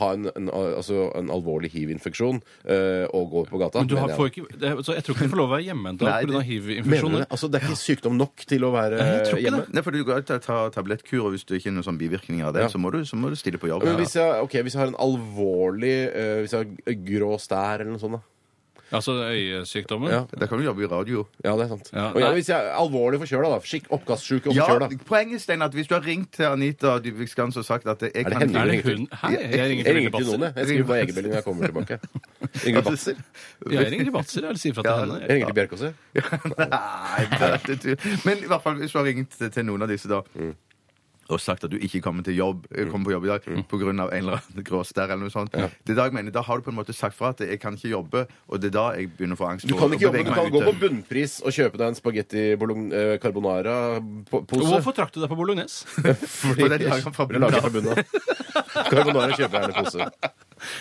ha en, en, altså, en alvorlig hiv-infeksjon eh, og gå på gata. Men du har, mener får jeg. ikke, det, så jeg tror ikke du får lov å være hjemme en dag Nei, pga. Mener du det? hiv-infeksjoner. Altså, det er ikke sykdom nok til å være Nei, jeg tror ikke hjemme? Nei, for du går ut og tar tablettkur, og hvis du ikke har noen sånn bivirkninger av det, Ja. så, må du, så må du stille på jobb. Men hvis jeg, ok, hvis jeg har en alvorlig eh, Hvis jeg har grå stær eller noe sånt, da. Altså øyesykdommen. Ja. Da kan du jobbe i radio. Ja, det er sant. Ja, og jeg, nei. hvis jeg er alvorlig forkjøla, da. Skikk oppkastsjuke og Ja, forkjøla. poenget, Stein, at hvis du har ringt til Anita Dybvik Skans og sagt at jeg det kan henne Er det hun? Hæ? Jeg ringer Jeg til ringer Ingrid til noen, Batzer. jeg. Jeg skriver på egenmelding når jeg kommer tilbake. Ingrid Batzer. Ja, Jeg ringer til Batzer, eller sier fra til Ja, henne. Jeg ringer til Bjerkås, jeg. Mm. Nei, det er det du- Men i hvert fall hvis du har ringt til noen av disse, da. og sagt at du ikke kommer til jobb, eh, kommer på jobb i dag Mm. pga. en eller annen gråstær eller noe sånt. Det er da jeg mener, da har du på en måte sagt fra at jeg kan ikke jobbe, og det er da jeg begynner å få angst. Du og- kan og ikke jobbe, bevege du meg kan gå på ute. bunnpris og kjøpe deg en spagetti bologn- eh, carbonara-pose. Hvorfor trakk du deg på bolognese? For det er laget fra bunnen Laget av. fra bunnen av. Carbonara kjøper jeg gjerne pose.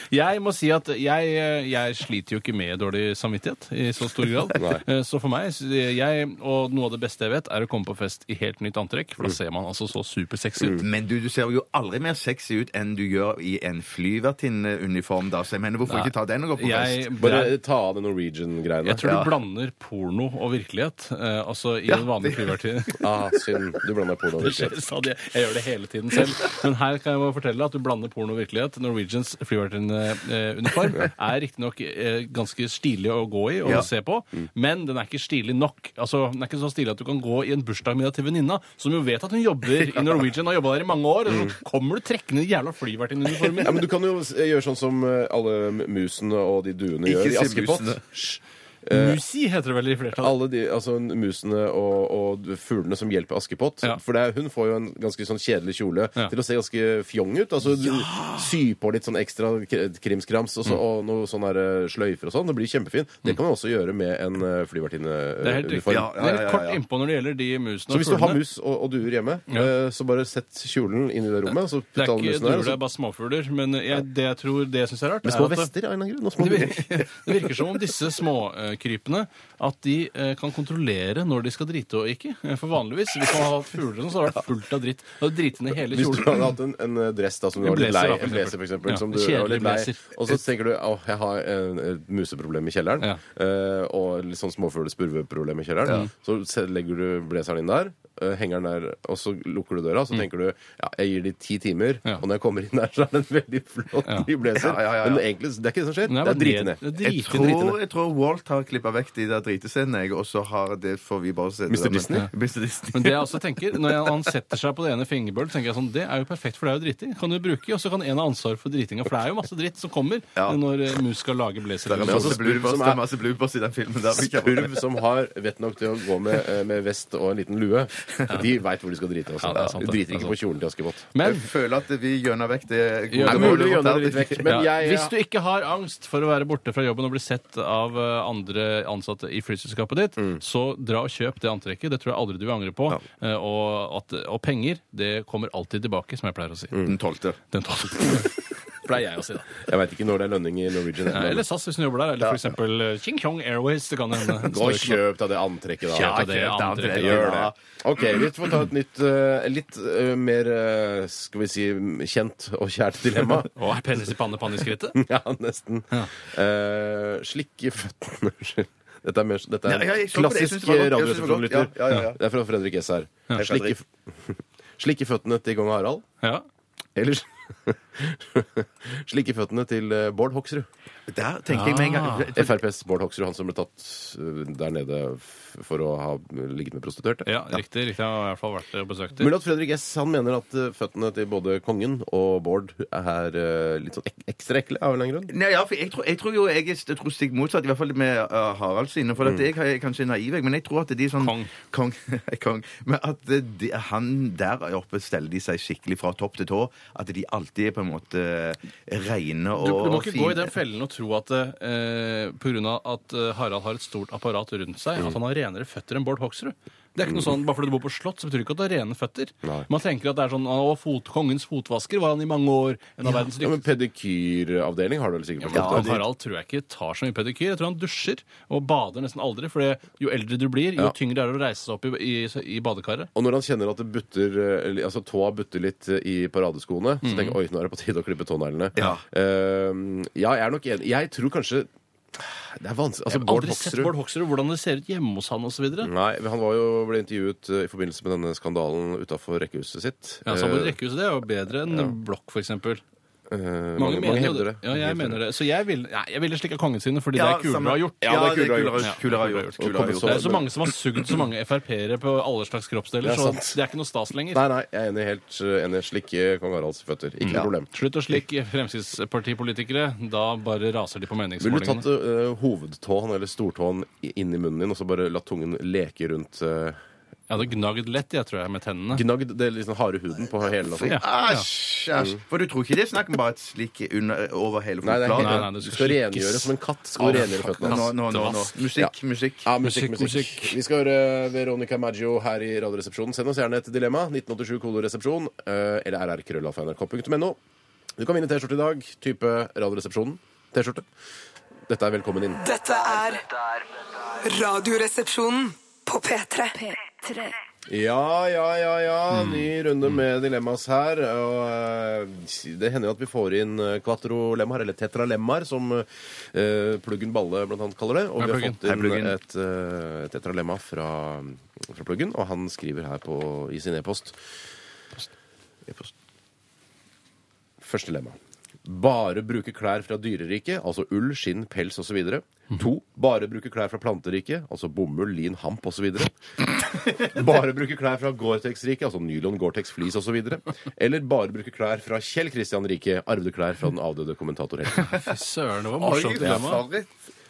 Jeg må si at jeg, eh, jeg sliter jo ikke med dårlig samvittighet i så stor grad. Eh, Nei. så for meg, jeg, og noe av det beste jeg vet, er å komme på fest i helt nytt antrekk. Mm. For da ser man altså så supersexy ut. Men du, du ser jo aldri mer sexy ut enn du gjør i en flyvertinneuniform. da, Så jeg mener, hvorfor Nei. ikke ta den og gå Mm. på fest? Jeg, Bare jeg, ta av det Norwegian-greiene. jeg tror Ja. du blander porno og virkelighet. eh, altså i en vanlig flyvertid. Ah, synd. Du blanda porno og Det virkelighet. skjer stadig. Jeg gjør det hele tiden selv. Men her kan jeg bare fortelle at du blander porno og virkelighet. Norwegians flyvertinuniform er riktignok eh, ganske stilig å gå i og Ja. se på, Mm. men den er ikke stilig nok. Altså, Den er ikke så stilig at du kan gå i en bursdagsmiddag til venninna, som jo vet at hun jobber i Norwegian og har jobba der i mange år, og så kommer du trekkende i Mm. jævla Ja, flyvertinuniformen. men du kan jo s- gjøre sånn som eh, alle m- musene og de duene gjør Ikke i si Askepott. musene. Hysj. Eh, Musi heter det vel i flertallet. Alle de, altså musene og, og fuglene som hjelper Askepott. Ja. For det er, hun får jo en ganske sånn kjedelig kjole Ja. til å se ganske fjong ut. Altså, du Sy på litt sånn ekstra k- krimskrams Mm. og, så, og noe sånn der, eh, sløyfer og sånn. Det blir kjempefint. Det kan man også gjøre med en eh, Det er helt riktig. flyvertinneuniform. Ja, ja, ja, ja, ja. Men Kort innpå når det gjelder de musene Så og hvis du har fuglene. mus og, og duer hjemme, Ja. eh, så bare sett kjolen inn i det rommet, så Det putt er alle musene ikke duer, der. og det er så- bare småfugler. Men jeg, det jeg tror det jeg syns er rart Med er små at- vester av en eller annen grunn. og små Det duer. virker, det virker som om disse småkrypene at de eh, kan kontrollere når de skal drite og ikke. Eh, For vanligvis, hvis man har hatt fugler, og sånn, så har det vært fullt av dritt. Da har du driti ned hele Hvis du hadde kjolen. hatt en, en eh, dress da, som du En var litt blazer, lei, da, for en blazer eksempel. for eksempel, Ja, som en du var litt kjedelig lei, blazer. og så tenker du at jeg har en, et museproblem i kjelleren, Ja. eh, og litt sånn småfugle-spurveproblem i kjelleren, så se- legger du blazeren inn der, eh, henger den der, og så lukker du døra, så tenker du ja, jeg gir de ti timer, Mm. Ja. og når jeg kommer inn der, så er det en veldig flott Ja. ny blazer. Ja, ja, ja, ja. Men egentlig, det er ikke det som skjer. Nei, det bare er drite ned. det er Jeg drite- drite ned. tror, jeg tror Walt har klippa vekk de der dritescenene, jeg, og så har det får vi bare se. Mr. det der, men- Disney? Mr. Disney. Men det altså jeg også tenker, når jeg, han setter seg på det ene fingerbøl, tenker jeg sånn, det er jo perfekt, for det er jo driti. Kan du bruke, og så kan en ha ansvar for dritinga, for det er jo masse dritt som kommer Ja. når eh, mus skal lage blazer. Det er Men altså, masse spurv bloopers, som det er- er masse bloopers i den filmen. der. vi kan- Spurv som har vett nok til å gå med, eh, med vest og en liten lue, de vet hvor de skal drite også. Ja, det er sant, de det. driter Det er ikke på kjolen til Askepott. Jeg Men føler at vi gjønner vekk det Ja, Det er men- mulig å gjøre det litt vekk, men ja. jeg Hvis du ikke har angst for å være borte fra jobben og bli sett av eh, andre ansatte i flyselskapet ditt, Mm. så dra og kjøp det antrekket. Det tror jeg aldri du vil angre på. Eh, Og, at, og penger, det kommer alltid tilbake, som jeg pleier å Mm. si. Den tolvte. Den tar- pleier jeg å si, da. Jeg veit ikke når det er lønning i Norwegian. Eh, Eller SAS, hvis du jobber der. Eller for eksempel eh, Ching Chong Airways. Det kan hende. Det Gå står og ikke noe- kjøp deg det antrekket, da. Kjøp deg det Kjøp deg antrekket. Gjør det. OK, vi får ta et nytt, eh, litt eh, mer eh, skal vi si, kjent og kjært dilemma. Å, er penis i panne, panne i skrittet? Ja, nesten. Eh, slikk i føttene Unnskyld. Dette er, mer, dette Ja, ja, er jeg så på det. Jeg klassisk synes det var godt. Jeg synes det var godt. radioresepsjonlytter. Ja, ja, ja, ja. Det er fra Fredrik S. her. Slikk, i, f- slikk i føttene til kong Harald. Ja. Eller slikk i føttene til eh, Bård Hoksrud. Der tenker jeg med en Ah. gang FrPs Bård Hoksrud, han som ble tatt øh, der nede f- for å ha ligget med prostituerte. ja, riktig. riktig. Jeg har i hvert fall vært og besøkt det. Mulig at Fredrik S. han mener at øh, føttene til både kongen og Bård er øh, litt sånn ek ekstra ekle av en eller annen grunn. Nei, ja, for jeg, tror, jeg tror jo jeg, er- jeg tror stikk motsatt, i hvert fall med uh, Harald sine. For at jeg er kanskje naiv, jeg, men jeg tror at de sånn Mm. Kong, Kong. kong men at eh, de, han der oppe steller de seg skikkelig fra topp til tå. At de alltid er på en måte reine og Du, du må og ikke fine. gå i den fellen og tro at eh, pga. at eh, Harald har et stort apparat rundt seg, Mm. at han har renere føtter enn Bård Hoksrud. Det er ikke noe sånn, Bare fordi du bor på slott, så betyr det ikke at du har rene føtter. Nei. Man tenker at det er sånn Å, fot, kongens fotvasker var han i mange år. En av verdens Ja, men dyktigste. Pedikyravdeling har du vel sikkert på Ja, føttene? men Harald tror jeg ikke tar så mye pedikyr. Jeg tror han dusjer og bader nesten aldri. For jo eldre du blir, jo Ja. tyngre er det å reise seg opp i, i, i badekaret. Og når han kjenner at det butter, eh, li- altså tåa butter litt eh, i paradeskoene, Mhm. så tenker jeg oi, nå er det på tide å klippe tåneglene. Ja. Eh, ja, jeg er nok enig. Jeg tror kanskje Det er vanskelig. Altså, Jeg har Bård aldri sett Hoksrud Mm. Bård Hoksrud, hvordan det ser ut hjemme hos han osv. Nei, han var jo, ble intervjuet eh, i forbindelse med denne skandalen utafor rekkehuset sitt. Ja, så på Eh, rekkehuset, det er jo bedre enn blokk, for eksempel eh, mange Mange, mener jo hevder det. Ja, jeg mener det. Så jeg ville vil jeg ville slikka kongen sine, fordi Ja, det er kulere å samme- ha gjort. Ja, det er kulere å ha Ja, gjort. Kulere å ha gjort. kulere å ha Og gjort. Det er så mange som har sugd så mange Frp-ere på alle slags kroppsdeler, Det er så sant. det er ikke noe stas lenger. Nei, nei, jeg er enig helt eh, enig. Slikk eh, kong Haralds føtter. Ikke noe problem. Slutt å slikke Fremskrittspartipolitikere. Da bare raser de på Ville du tatt meningsmålingene. eh, hovedtåen eller stortåen i- inn i munnen din og så bare latt tungen leke rundt eh, Jeg hadde gnagd lett, jeg tror jeg, med tennene. Gnagd det liksom harde huden på hælen og sånn. Ja. Æsj, æsj. For du tror ikke det er snakk om bare et slikk under, over hele Nei, det er helt, Nei, nei, fotbladet? det du skal skal slikkes. rengjøre som en katt. skal du rengjøre Nå, føttene. nå, nå, nå, nå. Musikk, musikk. Ja, musikk, Musikk, musikk, musikk. Vi skal høre Veronica Maggio her i Radioresepsjonen. Send oss gjerne et dilemma. 1987 koloresepsjon eh, eller rrkrøllalfa.nrk.no. Du kan vinne T-skjorte i dag. Type Radioresepsjonen. T-skjorte. Dette er Velkommen inn. Dette er Radioresepsjonen på P3. Ja, ja, ja, ja. Ny runde med dilemmas her. Og eh, det hender jo at vi får inn eh, quattro-lemmaer, eller tetralemmaer, som eh, Pluggen Balle blant annet kaller det. Og Hei, vi har Pluggen. fått Hei, Pluggen. inn et eh, tetralemma fra, fra Pluggen, og han skriver her på, i sin e-post. Første lemma. Bare bruke klær fra dyreriket, altså ull, skinn, pels osv. To. Bare bruke klær fra planteriket, altså bomull, lin, hamp osv. Bare bruke klær fra Gore-Tex-riket, altså nylon, Gore-Tex, flis osv. Eller bare bruke klær fra Kjell Kristian-riket, arvede klær fra den avdøde kommentator Helge. Fy søren, det var Oi, morsomt det er dilemma. farlig.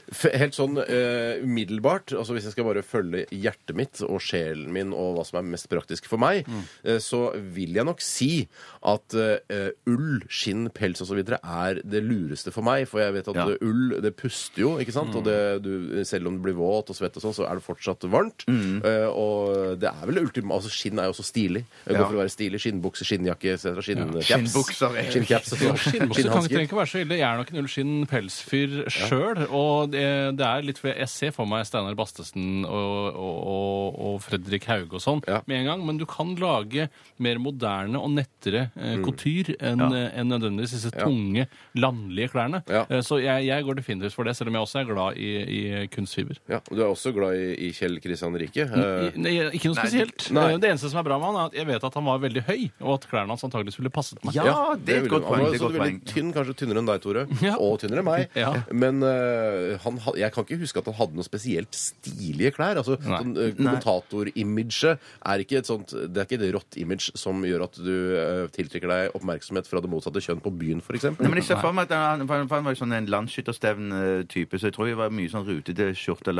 F- Helt sånn eh, umiddelbart, altså hvis jeg skal bare følge hjertet mitt og sjelen min og hva som er mest praktisk for meg, Mm. eh, så vil jeg nok si at eh, ull, skinn, pels osv. er det lureste for meg. For jeg vet at Ja. Mm. eh, ull, det puster jo, ikke sant? Og det, du, selv om du blir våt og svett og sånn, så er det fortsatt varmt. Mm. Eh, og det er vel ultima... Altså skinn er jo også stilig. Det går Ja. for å være stilig. Skinnbukse, skinnjakke, etc. Skinncaps. Skinnbukser, eh. Skinncaps og Jo, sånn. Skinnbukser kan ikke, Skinnhansker. trenger ikke være så ille. Jeg er nok en ullskinn-pelsfyr sjøl. Og det, det er litt fordi jeg ser for meg Steinar Bastesen og, og, og, og Fredrik Hauge og sånn Ja. med en gang, men du kan lage mer moderne og nettere eh, couture enn eh, enn nødvendigvis disse tunge, landlige klærne. Ja. Eh, så jeg, jeg går definitivt for det, selv om jeg også er glad i, i kunstfiber. Ja, og du er også glad i, i Kjell Kristian Rike. eh, Nei, ikke noe spesielt. nei. Eh, Det eneste som er bra med han, er at jeg vet at han var veldig høy, og at klærne hans antakeligvis ville passet meg. Ja, det er et ville godt han. poeng. Han var Det er et også godt veldig poeng. tynn, kanskje tynnere enn deg, Tore. Ja. Og tynnere enn meg. Ja. Men eh, han, had- jeg kan ikke huske at han hadde noe spesielt stilige klær. Altså, Nei. sånn, eh, Kommentatorimaget er ikke et sånt Det er ikke et rått image som gjør at du eh, tiltrekker deg oppmerksomhet fra det motsatte kjønn på byen, f.eks. Nei, men jeg ser for meg at han, for han- for han var jo sånn en landsskytterstevn-type, så jeg tror det var mye sånn rutete skjorte,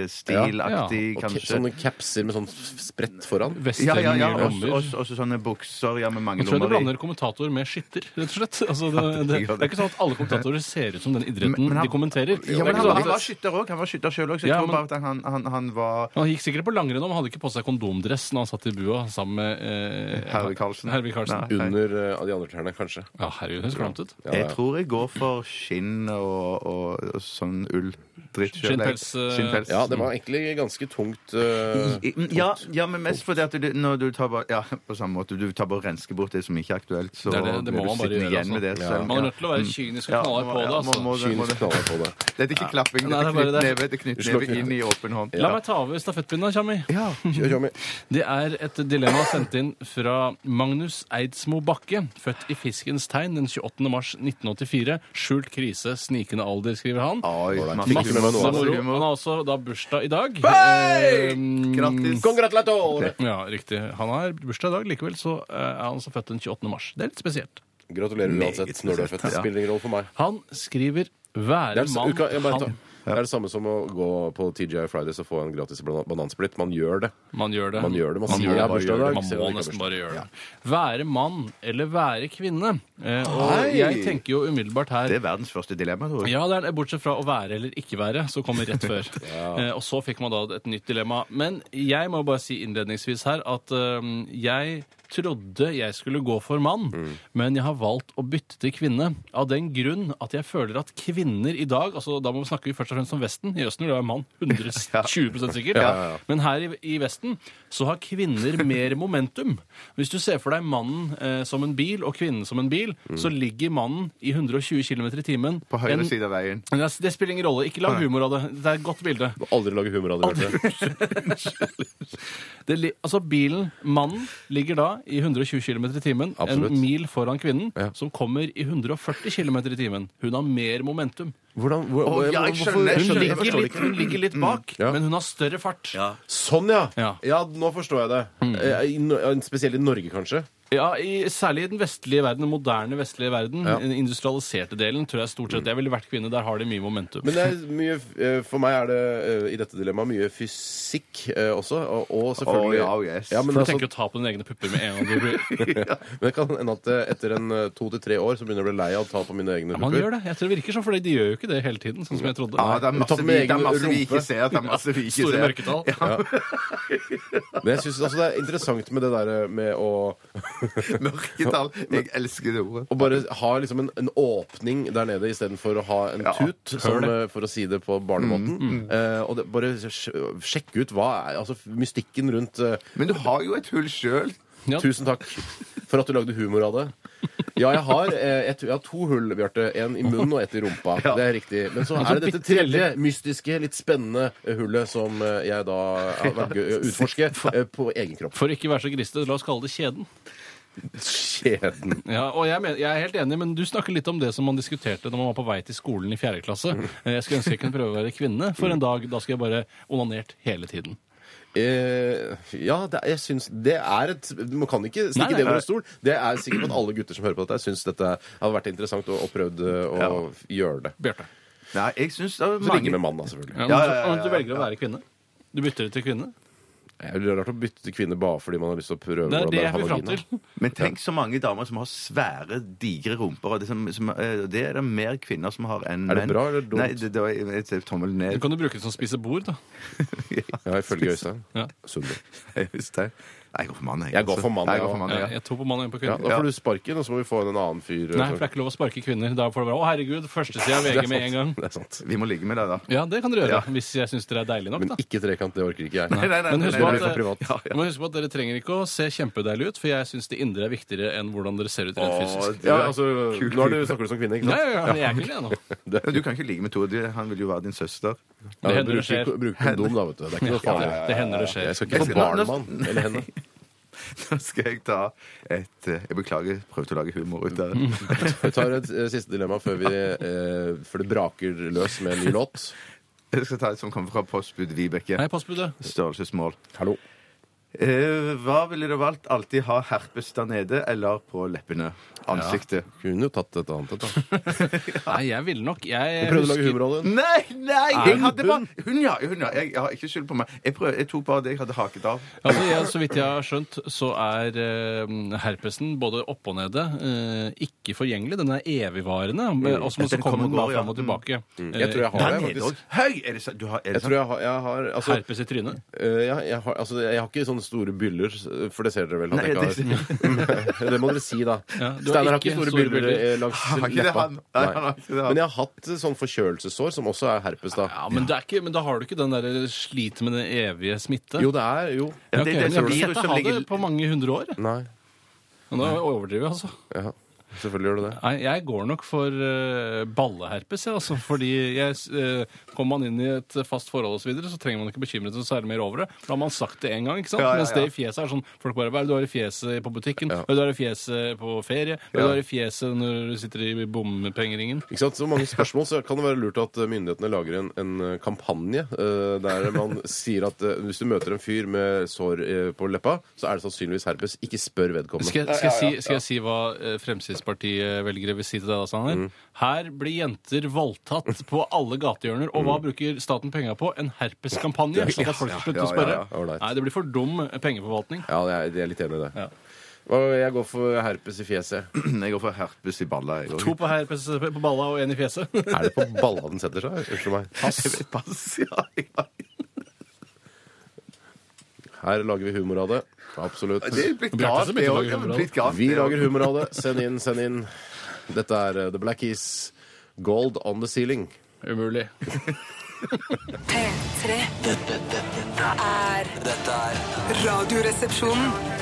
lumberjack-stil-aktig, Og ke- kanskje. sånne capser med sånn f- spredt foran. Ja, ja, ja. Westernlommer. Også, også, også sånne bukser ja, med mange Jeg tror jeg du lommer i. blander kommentator med skytter, rett og slett. Altså, det, det, det er ikke sånn at alle kommentatorer ser ut som den idretten Men- men han- de kommenterer. Det Ja, er men ikke han, sånn han var at, skytter òg. Han var skytter sjøl òg, så jeg Ja, tror men- bare at han, han, han var han gikk sikkert på langrenn, men hadde ikke på seg kondomdress når han satt i bua sammen med eh, Hervig Karlsen. Hervig Karlsen. Nei. Under eh, de andre klærne, kanskje. Ja, herregud, hun sklamtet. Ja, Jeg ja. tror jeg går for skinn og, og, og sånn ull. Dritt selv. Skinnpels, eh, Skinnpels. ja, det var egentlig ganske tungt. eh, Mm. I- mm, ja, ja, men mest fordi at du, når du tar bare, ja, på samme måte, du tar bare og rensker bort det som ikke er aktuelt, så Det, er det, det blir må du man bare sittende gjøre. igjen Altså. med det. selv. Man er Ja. nødt til å være kynisk og knallhard på Mm. ja, det. må- Altså. må det- må Kynisk det- knaller på det. Dette er ikke klapping, Nei, det det er er bare det. knyttneve. Det er Du slår knyttneve inn i åpen hånd. La meg ta over stafettpinnen, Tjammi. Kjør, Tjommi. Det er et dilemma sendt inn fra Magnus Eidsmo Bakke, født i Fiskens tegn den 28. mars 1984. Skjult krise, snikende alder, skriver han. Oi, masse Fikk du med meg Masse noe, humor, masse moro. Han humor. har også da bursdag i dag. Eh, Grattis. Congratulatore! Ja, riktig. Han har bursdag i dag, likevel så eh, er han også født den 28. mars. Det er litt spesielt. Gratulerer uansett når du er født. Det spiller ingen rolle for meg. Han skriver Det 'være er, mann'. kan jeg bare ta, Han, det er det samme som å gå på TGI Fridays og få en gratis banan- banansplitt. Man gjør det. man gjør det. Man gjør det, man sier gjør det er bursdag bare i gjør det. dag, Man selv om det må ikke er nesten bursdag. bare gjøre det. Være mann eller være kvinne. Eh, og Hei! jeg tenker jo umiddelbart her Det er verdens første dilemma, tror jeg. Ja, det er det. Bortsett fra å være eller ikke være, så kommer rett før. eh, og så fikk man da et nytt dilemma. Men jeg må bare si innledningsvis her at eh, jeg trodde jeg skulle gå for mann, Mm. men jeg har valgt å bytte til kvinne av den grunn at jeg føler at kvinner i dag altså Da må vi snakke først og fremst om Vesten. I Østen vil det være mann. 120 sikkert. Men her i, i Vesten så har kvinner mer momentum. Hvis du ser for deg mannen eh, som en bil og kvinnen som en bil, så ligger mannen i 120 km i timen Mm. På høyre en- side av veien. Men Det, det spiller ingen rolle. Ikke lag humor av det. Det er et godt bilde. Må Aldri lage humor av det. Bjarte. Det, li- altså bilen, Mannen ligger da i 120 km i timen, Absolutt. en mil foran kvinnen, Ja. som kommer i 140 km i timen. Hun har mer momentum. Hvordan, hvor, Å, ja, jeg hvorfor- skjønner, jeg Hun skjønner. ligger, forstår det litt, hun ligger litt bak, Ja. men hun har større fart. Sånn, ja. Ja. Mm. ja! Nå forstår jeg det. Eh, i No- ja, Spesielt i Norge, kanskje. Ja, i, Særlig i den vestlige verden, den moderne vestlige verden. Ja. Den industrialiserte delen tror jeg stort sett jeg ville vært kvinne. Der har de mye momentum. Men det er mye, eh, for meg er det eh, i dette dilemmaet mye fysikk eh, også, og, og selvfølgelig Oh, ja, yes. Ja, men, For du altså, tenker å ta på dine egne pupper med en gang du blir men det kan hende at eh, etter en eh, to til tre år så begynner jeg å bli lei av å ta på mine egne Ja, Man pupper. gjør det. Jeg tror det virker sånn, for de gjør jo ikke det hele tiden, sånn som jeg trodde. Ja, det er Tatt masse, med vi, egen det er masse vi rumpe. ikke ser. Det er masse vi ikke Store ser. mørketall. Men jeg synes altså, det er interessant med det der eh, med å, Mørketall. Jeg elsker det ordet. å bare ha liksom en, en åpning der nede istedenfor å ha en Ja, tut, som, eh, for å si det på barnemåten. Eh, og det, bare sj- sjekke ut hva er altså, mystikken rundt eh, Men du har jo et hull sjøl. Ja. Tusen takk for at du lagde humor av det. Ja, jeg har, eh, et, jeg har to hull, Bjarte. En i munnen og et i rumpa. Det er riktig. Men så er det dette tredje mystiske, litt spennende hullet som eh, jeg da har vært gøy å utforske eh, på egen kropp. For ikke være så grisete, la oss kalle det kjeden. Kjeden. Ja, og jeg, mener, jeg er helt enig, men du snakker litt om det som man diskuterte når man var på vei til skolen i fjerde klasse. Eh, Jeg skulle ønske jeg kunne prøve å være kvinne for en dag. Da skulle jeg bare onanert hele tiden. Eh, ja, det, er- jeg syns det er et Man kan ikke stikke Nei, nei. det over en stol. Det er sikkert at alle gutter som hører på dette, syns dette hadde vært interessant og, og prøvd eh, å gjøre det. Bjarte. Nei, jeg syns det er Så lenge mange med mann, da, selvfølgelig. Ja, men Ja, så- ja, ja, men Du ja, velger å være kvinne. Du bytter det til kvinne. Jeg ville rart å bytte til kvinne bare fordi man har lyst til å prøve Det er det jeg å vil ha fram vagina. til. Men tenk så mange damer som har svære, digre rumper. Og det, som, som, eh, det er det mer kvinner som har enn menn. Er det bra eller dumt? Nei, det, det var et et tommel Du ned. kan jo bruke det som spisebord, da. Ja, ifølge Øystein. Ja. Sundby. Nei, jeg går for mann, jeg. Jeg går for mann, Nei, ja. jeg går for mann, Ja, ja. Jeg to på mann og en på Ja, kvinne. da får du sparken, og så må vi få inn en annen fyr. eh, Nei, for det er ikke lov å sparke kvinner. Da får det være å herregud, førstesida av Det er VG med sant. en gang. Det er sant. Vi må ligge med deg, da. Ja, det kan dere gjøre. Ja. Hvis jeg syns dere er deilige nok, Men da. ikke trekant, det orker ikke jeg. Nei, nei, nei, Men nei, husk nei, på det at, blir for privat. ja, ja. Men husk på at dere trenger ikke å se kjempedeilige ut, for jeg syns det indre er viktigere enn hvordan dere ser ut rent fysisk. Åh, Ja, altså, nå er du, snakker du som kvinne, ikke Nei, sant? ja, ja, men jeg er ikke det nå. du- Du kan ikke ligge med Tord. Han vil jo være din søster. Ja, Det hender det bruk, skjer. bruk kondom, da, vet du. Det er ikke noe farlig. Det hender det Jeg skjer. skal ikke få Jeg skal- barn, mann. Eller henne. Da skal jeg ta et eh, Jeg beklager, prøvde å lage humor ut av det. Vi tar et eh, siste dilemma før, vi, eh, før det braker løs med en ny låt. Jeg skal ta et som kommer fra postbud Hei, Vibeke. postbudet. Størrelsesmål. Hallo. Eh, hva ville du valgt? Alltid ha herpes der nede eller på leppene? Ansiktet. Kunne jo tatt et annet et, da. Nei, jeg ville nok Jeg Jeg prøvde å lage husker- humor av den. Nei, nei! Jeg Hun, hadde hun. bare Hun, ja. Hun, ja. Jeg, jeg har ikke skyld på meg. Jeg, prøv, jeg tok bare det jeg hadde haket av. Altså, jeg, så vidt jeg har skjønt, så er eh, herpesen både oppe og nede eh, ikke forgjengelig. Den er evigvarende, men- og så Den kommer kommer den og bare går, ja. fram og tilbake. Eh, Jeg tror jeg har Der det, nede faktisk. òg. Høy! Er det sant? Du har, er det sånn- Jeg tror jeg har, jeg har altså, Herpes i trynet. Eh, ja, jeg, har, altså, jeg har ikke sånne store byller, for det ser dere vel at Nei, jeg ikke har. det må dere si, da. Ja, du har Steinar har ikke ikke store store byller, byller. eh, langs Han har ikke det, leppa. han. Nei, han har ikke det, han. Men jeg har hatt eh, sånn forkjølelsessår, som også er herpes, da. Ja, men, det er ikke, men da har du ikke den der slit med den evige smitte. Jo, det er jo. Ja, det- ok, det- men jeg har det- ikke virus sett som deg ha ligger- det på mange hundre år. Nei. Nå overdriver jeg, altså. Ja, selvfølgelig gjør du det. Nei, jeg går nok for eh, balleherpes, jeg, altså. Fordi jeg, eh, kommer man inn i et fast forhold osv., så, videre, så trenger man ikke bekymre seg særlig mer over det. Da har man sagt det én gang, ikke sant? Ja, ja, ja. Mens det i fjeset er sånn Folk bare Hva er det du har i fjeset på butikken? Hva er det du har i fjeset på ferie? Hva er det du har i fjeset når du sitter i bompengeringen? Ikke sant? Så mange spørsmål, så kan det være lurt at eh, myndighetene lager en, en eh, kampanje eh, der man sier at eh, hvis du møter en fyr med sår eh, på leppa, så er det sannsynligvis herpes. Ikke spør vedkommende. Skal, jeg- skal, jeg si, skal jeg si hva eh, Fremskrittspartiet-velgere vil si til deg, da, Sander? Her blir jenter voldtatt på alle gatehjørner, og hva bruker staten penga på? En herpeskampanje? Slik at folk slutter å Ja, ja, spørre? ja. All right. Nei, det blir for dum pengeforvaltning. Ja, jeg jeg er litt enig i det. Ja. Hva- Jeg går for herpes i fjeset. Jeg går for herpes i balla. Jeg To òg. på herpes på balla og én i fjeset. Er det på balla den setter seg? Unnskyld meg. Pass, ja, ja. Her lager vi humor av det. Absolutt. Det er blitt Bjarte galt, som begynte det å òg. lage Det er humor av blitt galt, Vi det lager også. humor av det. Send inn, send inn. Dette er eh, The Blackies. Gold on the ceiling. Umulig. P3 Dette, dette, er dette er radioresepsjonen.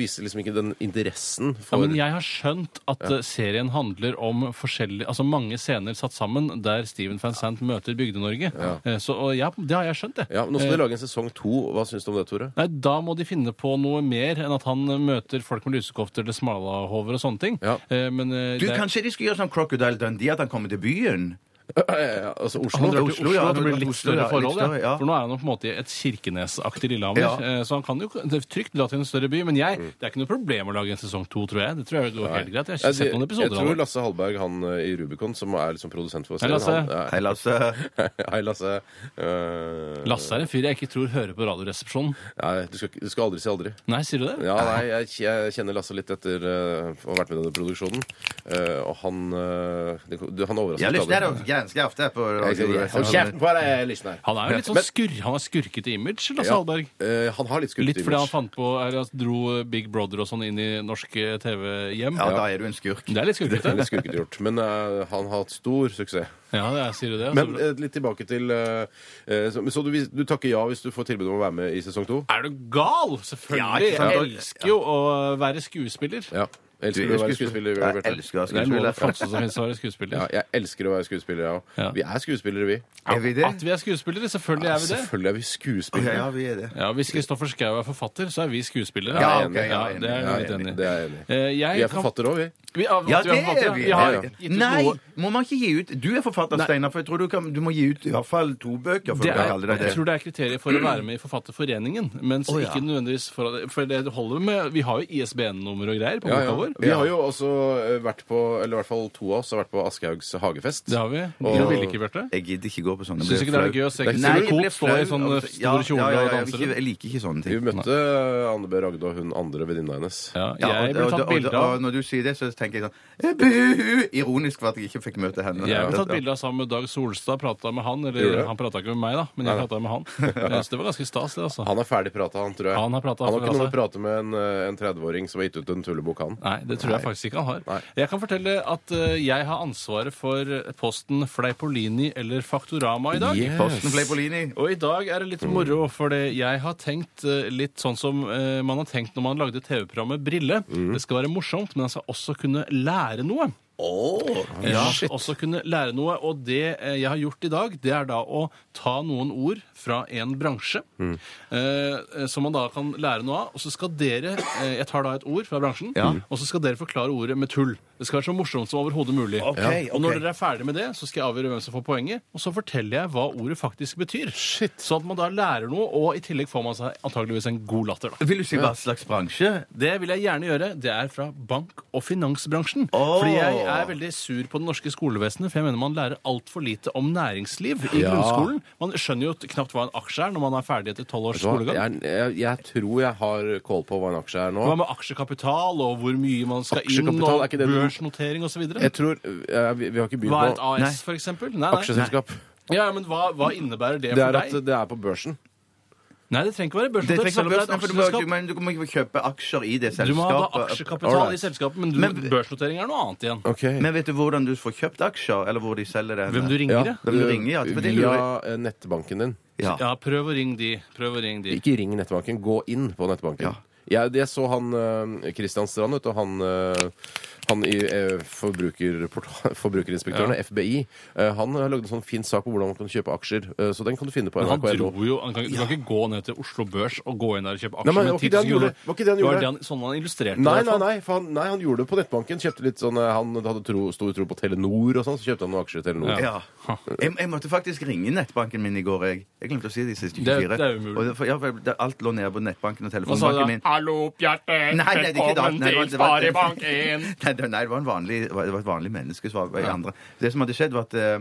viser liksom ikke den interessen Ja, for men jeg har skjønt at eh, serien handler om forskjellige, altså mange scener satt sammen der Steven van Sant møter Bygde-Norge. Eh, Så og ja, det har jeg skjønt, det. Ja, Nå skal de lage en sesong to. Hva syns du om det, Tore? Nei, Da må de finne på noe mer enn at han eh, møter folk med lusekofter eller smalahover og sånne ting. Ja. Eh, Men eh, Du, det- Kanskje de skulle gjøre sånn Crocodile Dundee, at han kommer til byen? Altså han Oslo? drar Oslo, til Oslo, ja, at det blir litt Oslo, ja, større litt forhold. større, Ja. ja. For nå er han jo på en måte i et Kirkenes-aktig Lillehammer, Ja. eh, så han kan jo det er trygt dra til en større by. Men jeg, Mm. det er ikke noe problem å lage en sesong to, tror jeg. Det tror jeg går helt greit. Jeg har ikke sett noen jeg episoder av tror det. Lasse Hallberg, han eh, i Rubicon, som er liksom produsent for Hei, serien Lasse. han- Hei, Lasse. Hei, Hei, Lasse. Eh, Lasse er en fyr jeg ikke tror hører på Radioresepsjonen. Nei, du skal, ikke- du skal aldri si aldri. Nei, sier du det? Ja, nei, jeg, jeg kjenner Lasse litt etter eh, å ha vært med i denne produksjonen. Eh, og han eh, det, du, Han overrasker Jeg meg lytter aldri. til ganske ofte på Jeg sier, «Ja, Hold kjeften på deg, jeg lytter her. Han er jo litt sånn skur, han har skurkete image, Lasse Ja, Hallberg. eh, han har litt skummelt Litt fordi han fant på, eller altså, dro Big Brother og sånn inn i norske TV-hjem. Ja, da er du en skurk. Det er litt skurkete. Litt skurkete gjort. Men eh, han har hatt stor suksess. Ja, det er, sier du det. altså. Men eh, litt tilbake til eh, eh, Så, så du, vis- du takker ja hvis du får tilbud om å være med i sesong to? er du gal? Selvfølgelig! Ja, ikke sant? Jeg elsker jo å være skuespiller. Ja. Elsker du Du å elsker være skuespiller. skuespiller? Jeg Bjarte? elsker å være Det er noe av det skuespiller. flotteste som finnes å være skuespiller. Ja, jeg elsker å være skuespiller, jeg òg. Ja. Vi er skuespillere, vi. Er vi det? At vi er skuespillere, selvfølgelig er vi det. Selvfølgelig er vi Ja, skuespillere. ja, vi er det. Ja, Hvis Kristoffer Schou er forfatter, så er vi skuespillere. Ja, Jeg er ok, enig. ja, ja, det er Ja, jeg litt enig Det i. er jeg enig i. Eh, jeg Vi er kan- forfattere òg, vi. Vi, ja, Ja, at det forfattere, er vi. Vi har Ja, ja. gitt ut Nei, noe må man ikke gi ut Du er forfatter, Steinar, for jeg tror du, kan, du må gi ut i hvert fall to bøker. For det å er, kalle deg jeg det. tror det er kriterier for å være med i Forfatterforeningen. Men Å, så ja. ikke nødvendigvis for, at- for det holder med Vi har jo ISBN-nummer og greier på Ja, boka ja. vår. Vi har jo også eh, vært på, eller i hvert fall to av oss har vært på Aschehougs hagefest. Det har vi. Og- Du ville ikke, Bjarte? Jeg gidder ikke gå på sånne. Syns blir ikke det er flau. gøy å se Nei, jeg Kristine blir Koht stå i flau sånn av- store kjole ja, ja, og ja, jeg, danse vil ikke- rundt? jeg liker ikke sånne Vi ting. møtte eh, Anne B. Ragde og hun andre venninna hennes. Ja, Ja, og- jeg ble og- tatt og- bilde Og av. når du sier det, så tenker jeg sånn Buhu! Ironisk for at jeg ikke fikk møte henne. Jeg ble tatt bilde av sammen med Dag Solstad, prata med han. Gjorde Eller du? han prata ikke med meg, da, men jeg prata med han. Så det var ganske stas, det, altså. Han er ferdig prata, han, tror jeg. Han har pratet, han har han ikke har noe å prate med en, eh, en 30-åring som har gitt ut en tullebok, han. Nei, det tror jeg faktisk ikke han har. Nei. Jeg kan fortelle at eh, jeg har ansvaret for posten Fleipolini eller Faktorama i dag. Yes. Posten Fleipolini. Og i dag er det litt moro, fordi jeg har tenkt eh, litt sånn som eh, man har tenkt når man lagde TV-programmet Brille. Det skal være morsomt, men han skal også kunne lære noe. Ja, også kunne lære noe. Og det eh, jeg har gjort i dag, det er da å ta noen ord fra en bransje eh, som man da kan lære noe av. Og så skal dere eh, Jeg tar da et ord fra bransjen, Mm. og så skal dere forklare ordet med tull. Det skal være så morsomt som overhodet mulig. Ok, Og ok. når dere er ferdig med det, så skal jeg avgjøre hvem som får poenget, og så forteller jeg hva ordet faktisk betyr. Shit. Sånn at man da lærer noe, og i tillegg får man seg antageligvis en god latter, da. Vil du si hva slags bransje? Det vil jeg gjerne gjøre. Det er fra bank- og finansbransjen. Åh. Fordi jeg er veldig sur på det norske skolevesenet, for jeg mener man lærer altfor lite om næringsliv i grunnskolen. Man skjønner jo knapt hva en aksje er når man er ferdig etter tolv års Så skolegang. Jeg, jeg, jeg tror jeg har kål på hva en aksje er nå. Hva med aksjekapital, og hvor mye man skal inn, Aksjekapital, og er ikke det du- børsnotering osv.? Jeg tror eh, vi, vi har ikke Hva begynt er et på AS, for eksempel? Nei, nei. aksjeselskap. Ja, ja, men hva, hva innebærer det, Det for er at deg? det er på børsen. Nei, det trenger ikke være Det trenger børsnotering, selv om det er et børsen, for du må, du, aksjeselskap. men du må ikke kjøpe aksjer i det selskapet. Du må ha da aksjekapital i Alright. selskapet, men, du, Men- børsnotering er noe annet igjen. Mm. Men vet du hvordan du får kjøpt aksjer, eller hvor de selger det? Hvem du ringer, ja. Hvem du ringer, ja. For det Eh, Via lurer eh, nettbanken din. Ja. Ja, prøv å ringe de. Prøv å ringe de. Ikke ring nettbanken, gå inn på nettbanken. Ja. Jeg, jeg så han eh, Christian Strand, vet du, han, eh, han i eh, forbrukerportal- Forbrukerinspektørene, FBI, eh, han har lagd en sånn fin sak på hvordan man kan kjøpe aksjer. eh, så den kan du finne på Men han nrk.no. dro jo, han kan, Du kan ikke gå ned til Oslo Børs og gå inn der og kjøpe Nei, aksjer men med det var ikke det 10 han 000 kroner. gjorde. Det var ikke det han Det var gjorde. det han, sånn han illustrerte Nei, det. i nei, hvert fall. nei, for han, nei, han gjorde det på nettbanken. Kjøpte litt sånn, eh, Han hadde tro, stor tro på Telenor og sånn, så kjøpte han noen aksjer i Telenor. Ja. Jeg, jeg måtte faktisk ringe nettbanken min i går. Jeg, jeg glemte å si det i siste 24. Det- det er umulig. Og det- for- ja, for det- alt lå nede på nettbanken og Hva sa du da? telefonbanken min. Hallo, Bjarte. Nei, nei, det er ikke da. Velkommen Nei, det var- til det var- Sparebank1. Nei, det, nei, det var, en vanlig, det var et vanlig menneske som var i andre. Det som hadde skjedd, var at eh,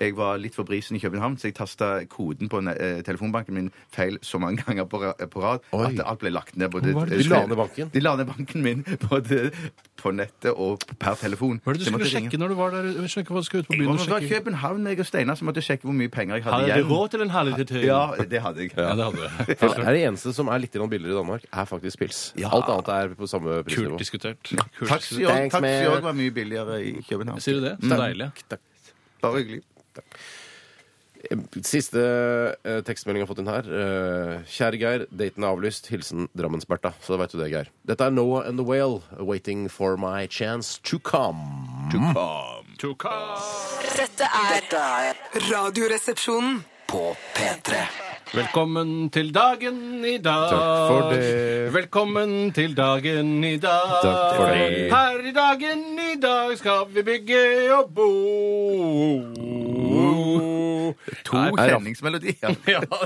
jeg var litt for brisen i København, så jeg tasta koden på ne- eh, telefonbanken min feil så mange ganger på, ra- på rad Oi. at alt ble lagt ned. Både, Hva var det du De la ned banken? De la ned banken min både på nettet og per telefon. Hva er det du Så jeg måtte skulle ringe. sjekke når du var der? Jeg skjønner ikke hva du skal ut på Det byen og var sjekke. København, jeg og Steinar, som måtte sjekke hvor mye penger jeg hadde Hadde du igjen. råd til en herlig tur? Ja, det hadde jeg. Ja, det hadde Det du. er det eneste som er litt grann billigere i Danmark, er faktisk pils. Ja. Alt annet er på samme prisnivå. Kult diskutert. Kult. Taxi òg diskutert. Thanks, man. var mye billigere i København. Sier du det? Så deilig. Bare hyggelig. Siste eh, tekstmelding jeg har fått inn her. Eh, Kjære Geir, daten er avlyst. Hilsen Drammensbertha. Så da vet du det, Geir. Dette er Noah and the Whale, waiting for my chance to come. Dette er Radioresepsjonen. På P3 Velkommen til dagen i dag. Takk for det. Velkommen til dagen i dag. Takk for det. Her i dagen i dag skal vi bygge og bo. To er det- kjenningsmelodier. Ja,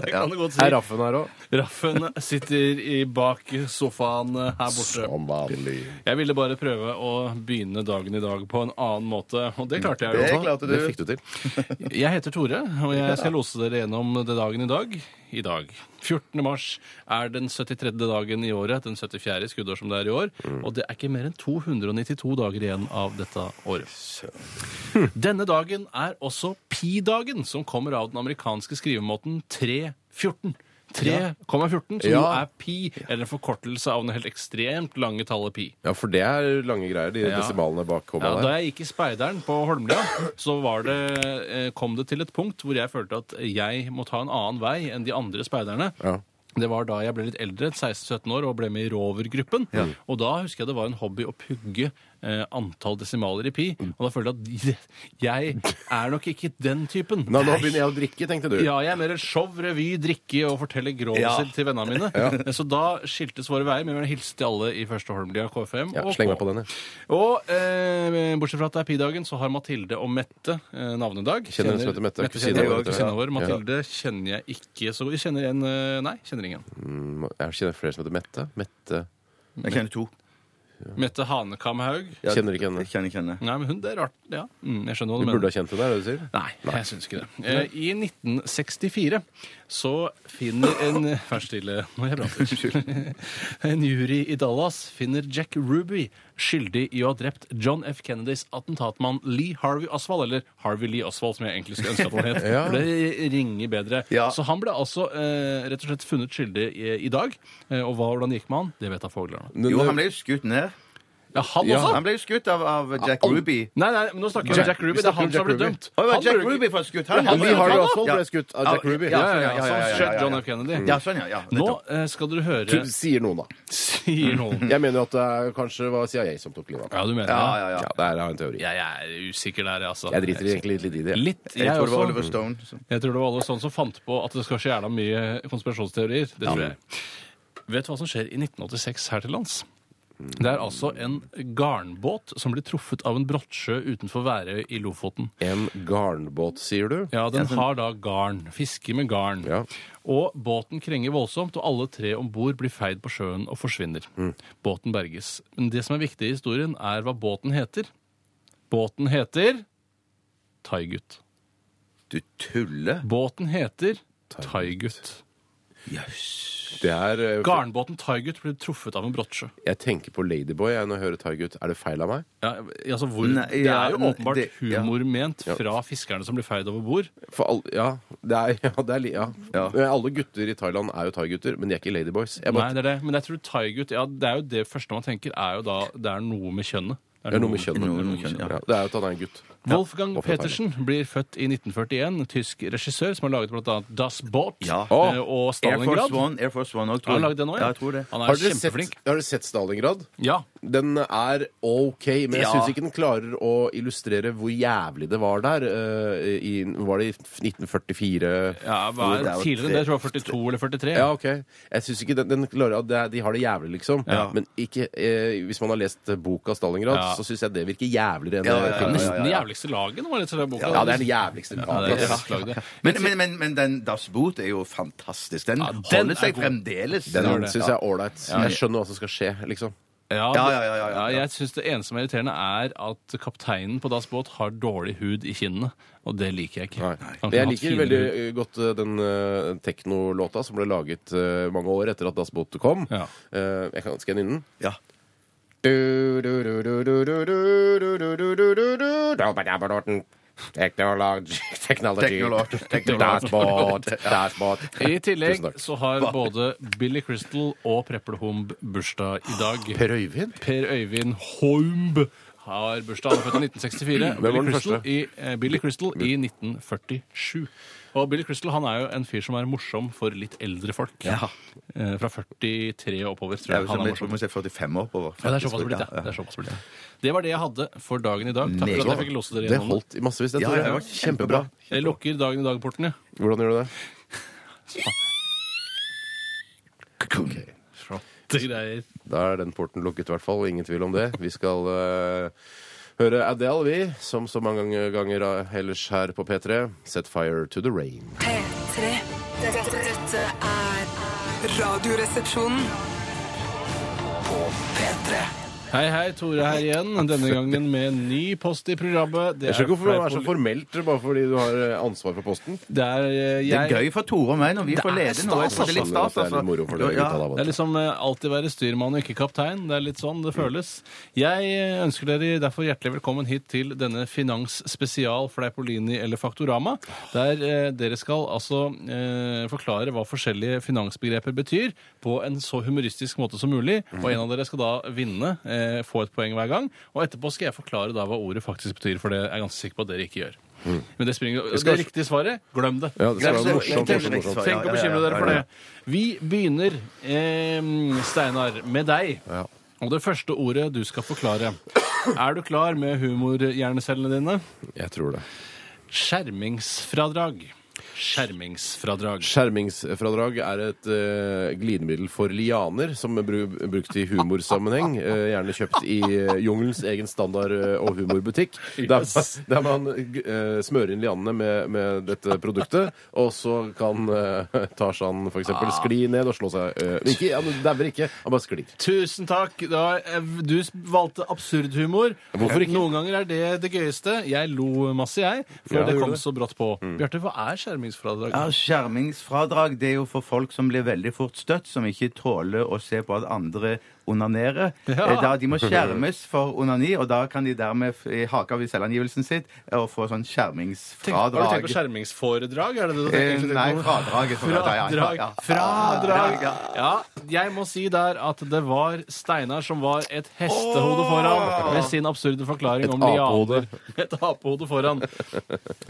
det kan du godt si. Er Raffen her òg? Raffen sitter i bak sofaen her borte. Som vanlig. Jeg ville bare prøve å begynne dagen i dag på en annen måte, og det klarte jeg Det jo. klarte du. Det fikk du til. Jeg heter Tore, og jeg skal lose dere gjennom det dagen i dag. I dag. 14. mars er den 73. dagen i året, den 74. skuddår som det er i år. Mm. Og det er ikke mer enn 292 dager igjen av dette året. Hm. Denne dagen er også pi-dagen, som kommer av den amerikanske skrivemåten 314. 3,14, som jo Ja. er pi, eller en forkortelse av det helt ekstremt lange tallet pi. Ja, for det er lange greier, de Ja. desimalene bak komma Ja, da der. jeg gikk i speideren på Holmlia, så var det, eh, kom det til et punkt hvor jeg følte at jeg må ta en annen vei enn de andre speiderne. Ja. Det var da jeg ble litt eldre, 16-17 år, og ble med i Rover-gruppen. Og da husker jeg det var en hobby å pugge eh, antall desimaler i pi. Og da følte jeg at jeg er nok ikke den typen. Nå, nå begynner jeg å drikke, tenkte du. Ja, jeg er mer en show, revy, drikke og fortelle groviser til vennene mine. Så da skiltes våre veier, men vi vil hilse til alle i første Holmlia KFM. Ja, og sleng meg K. på den, jeg. Og eh, bortsett fra at det er pi-dagen, så har Mathilde og Mette eh, navnedag. Kjenner hun som heter Mette? Kusina kjenner jeg vår, også, kusina vår. ja. Mathilde kjenner jeg ikke så godt. Kjenner en eh, Nei, kjenner ingen. Mm, Jeg kjenner flere som heter Mette. Mette Jeg kjenner to. Mette Hanekamhaug. Ja, Kjenner ikke henne. jeg Kjenner ikke henne. Nei, men hun, det er rart. Ja, mm, jeg skjønner hva Du du, burde ha mener. kjent henne, er det du sier? Nei, jeg syns ikke det. Eh, I 1964 så finner en Vær stille når jeg prater. En jury i Dallas finner Jack Ruby skyldig i å ha drept John F. Kennedys attentatmann Lee Harvey Oswald, eller Harvey Lee Oswald, som jeg egentlig skulle ønske at han het. Ja. For det ringer bedre. Ja. Så han ble altså eh, rett og slett funnet skyldig i, i dag. Eh, og hva, hvordan det gikk med han, det vet da fuglene. Men, Jo, han ble jo skutt ned. Ja, han Ja, også? Han ble jo skutt av, av Jack Ruby. Nei, nei, men nå snakker vi om Jack- Jack vi Ruby. Det snakker om er han som Jack ble Ruby. dømt. Å, det var Jack Han burde ikke- Ruby for skutt han. Ja, han Lee ble- Harvey Ja, Oswald ble ja. skutt av Jack Ruby. Ja, Ja, ja, ja, ja, ja, ja, ja, ja. John F. Kennedy. Ja, sånn, ja. ja Nå nettopp. eh, skal dere høre Du Sier noen, da. Sier noen. Jeg mener jo at det er kanskje var CIA som tok livet av Ja, du mener ja, det? Mm. ja, ja. Ja, det er en teori. Jeg er usikker der, jeg, altså. Jeg driter egentlig litt i det. Litt. Jeg, Jeg tror det var også. Oliver Stone. som- Jeg tror det var alle sånne som fant på at det skal skje jævla mye konspirasjonsteorier. Det tror jeg. Vet du hva som skjer i 1986 her til lands? Det er altså en garnbåt som blir truffet av en brottsjø utenfor Værøy i Lofoten. En garnbåt, sier du? Ja, den har da garn. Fiske med garn. Ja. Og båten krenger voldsomt, og alle tre om bord blir feid på sjøen og forsvinner. Mm. Båten berges. Men det som er viktig i historien, er hva båten heter. Båten heter Thaigut. Du tuller? Båten heter Thaigut. Det er eh, Garnbåten Thaigut ble truffet av en brottsjø. Jeg tenker på Ladyboy jeg, når jeg hører Thaigut. Er det feil av meg? Ja, altså hvor, Nei, det er ja, jo nei, åpenbart det- ja. humor ment fra fiskerne som blir feid over bord. For all, ja, det er, ja, det er li- ja. Ja. Men Alle gutter i Thailand er jo thai-gutter, men de er ikke Ladyboys. Jeg Nei, bare, det er det. Men jeg tror Thaigut ja, Det er jo det første man tenker, er jo da det er noe med kjønnet. det er noe med kjønn. Noe med kjønn, ja. Ja, det er jo at han er en gutt. Wolfgang Hvorfor Petersen blir født i 1941, tysk regissør som har laget bl.a. Das Boot Ja. eh, og Air Force Stalingrad. Han One, Air Force One også, tror har laget den òg, Ja, jeg tror det. Han er Har dere, sett, kjempeflink. har dere sett Stalingrad? Ja. Den er OK, men jeg Ja. syns ikke den klarer å illustrere hvor jævlig det var der. eh, i, var det i 1944? ja hva Jo, er det er jo tidligere enn det? Jeg tror jeg 42 eller 43. Ja, OK. Jeg syns ikke den, den klarer at det, er- De har det jævlig, liksom. Ja. Men ikke, eh, hvis man har lest boka Stalingrad, Ja. så syns jeg det virker jævligere enn Ja, ja, ja, filmen. Nesten ja, ja. det jævligste laget nå, var det, til den boka. Ja, det er det jævligste. Ja, det er det Ja. beste laget. Men, men, men, men den Das Boot er jo fantastisk. Den, Ja, den holder er seg god. fremdeles. Den det. syns jeg er ålreit. Jeg skjønner hva som skal skje, liksom. Ja, Ja, ja, ja, ja, ja. Jeg syns det eneste som er irriterende, er at kapteinen på Das Boot har dårlig hud i kinnene. Og det liker jeg ikke. Nei. Han Men kunne Jeg hatt liker finere veldig hud. eh, godt eh, den eh, teknolåta som ble laget eh, mange år etter at Das Boot kom. Ja. Eh, Jeg kan skanne inn den. Ja. Technology Technology Dashboard Dashboard I tillegg Tusen takk. så har både Billy Crystal og Preple Humb bursdag i dag. Per Øyvind? Per Øyvind Holmb har bursdag. Han er født i 1964. Hvem var Billy den Crystal første? I, eh, Billy Crystal i 1947. Og Billy Crystal han er jo en fyr som er morsom for litt eldre folk. Eh, Fra 43 og oppover, Det tror er jeg. jo som Han er jeg tror morsom. man ser 45 oppover. Ja, det er såpass blitt, ja. Ja, Det, er såpass blitt, ja. det var det jeg hadde for dagen i dag. Meget Takk for at jeg bra. fikk låse dere Det igjennom. holdt i massevis. Det, Ja, Tore. ja, det var kjempebra. kjempebra. Jeg lukker dagen i dag-porten, ja. Hvordan gjør du det? Ok. Flotte greier. Da er den porten lukket, i hvert fall. Ingen tvil om det. Vi skal eh, høre Adele, vi, som så mange ganger- ganger eh, ellers her på P3. Set fire to the rain. P3. Dette, dette er Radioresepsjonen. Hei, hei, Tore her igjen. Denne gangen med en ny post i programmet. Det Jeg skjønner ikke hvorfor det fleip- er så formelt bare fordi du har eh, ansvar for posten. Det er, eh, Det jeg, er gøy for Tore og meg når vi Det får er lede nå. Jeg stas, synes Det er litt stas, Sånn, Det er altså. litt moro for deg, Ja. gutta, da, Det vet er du. liksom eh, alltid være styrmann og ikke kaptein. Det er litt sånn det føles. Jeg eh, ønsker dere derfor hjertelig velkommen hit til denne finansspesial Fleipolini eller Faktorama, der eh, dere skal altså eh, forklare hva forskjellige finansbegreper betyr på en så humoristisk måte som mulig, og en av dere skal da vinne, eh, få et poeng hver gang, og etterpå skal jeg forklare da hva ordet faktisk betyr, for det er jeg ganske sikker på at dere ikke gjør. Men det, springer, det riktige svaret, glem det. Mm. Ja, det skal Glem være det. morsomt, Tenk- morsomt, morsomt. Tenk å bekymre dere for Ja, ja, ja, ja, ja. det. Vi begynner, eh, Steinar, med deg. Ja. Og det første ordet du skal forklare. Er du klar med humorhjernecellene dine? Jeg tror det. Skjermingsfradrag. Skjermingsfradrag. Skjermingsfradrag er et eh, glidemiddel for lianer, som er bru brukt i humorsammenheng. eh, gjerne kjøpt i eh, jungelens egen standard- eh, og humorbutikk. Der, Yes. der man eh, smører inn lianene med, med dette produktet, og så kan eh, Tarzan f.eks. Ah. skli ned og slå seg eh, ikke, Han dauer ikke, han bare sklir. Tusen takk. Da, eh, du valgte absurd humor. Eh, Hvorfor ikke? Noen ganger er det det gøyeste. Jeg lo masse, jeg, for Ja, det gjorde kom det. Mm. så brått på. Bjarte, hva er skjermingsfradrag? Ja, Skjermingsfradrag det er jo for folk som blir veldig fort støtt, som ikke tåler å se på at andre onanerer. Ja. Eh, Da De må skjermes for onani, og da kan de dermed f- eh, i haka ved selvangivelsen sitt eh, og få sånn Tenk, har du skjermingsfradrag. tenkt på skjermingsforedrag? Er det det du Eh, tenker? Nei, fradraget. Fradrag. Fradrag. Ja. Ja, jeg må si der at det var Steinar som var et hestehode foran med sin absurde forklaring om apehode. lianer. Et apehode foran.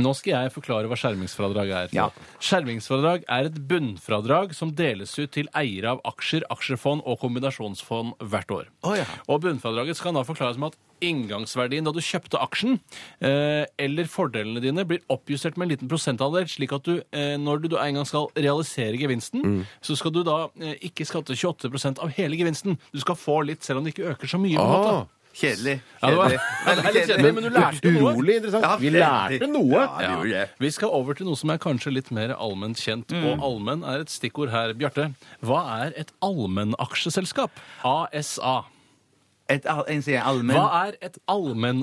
Nå skal jeg forklare hva skjermingsfradrag er. Ja. Skjermingsfradrag er et bunnfradrag som deles ut til eiere av aksjer, aksjefond og kombinasjonsfond hvert år. Å, ja. Og bunnfradraget skal da forklares med at inngangsverdien da du kjøpte aksjen, eh, eller fordelene dine, blir oppjustert med en liten prosentandel, slik at du, eh, når du da en gang skal realisere gevinsten, Mm. så skal du da eh, ikke skatte 28 av hele gevinsten. Du skal få litt, selv om det ikke øker så mye. på en måte. Ah, Kjedelig. Ja, det var- Kjedelig. Ja, det er litt kjedelig, men du lærte jo noe. utrolig interessant. Ja, Vi veldig. lærte noe. Ja, det gjorde jeg. Vi skal over til noe som er kanskje litt mer allment kjent, og allmenn er et stikkord her. Bjarte, hva er et allmennaksjeselskap? ASA. Et, al- en sier allmenn Hva er et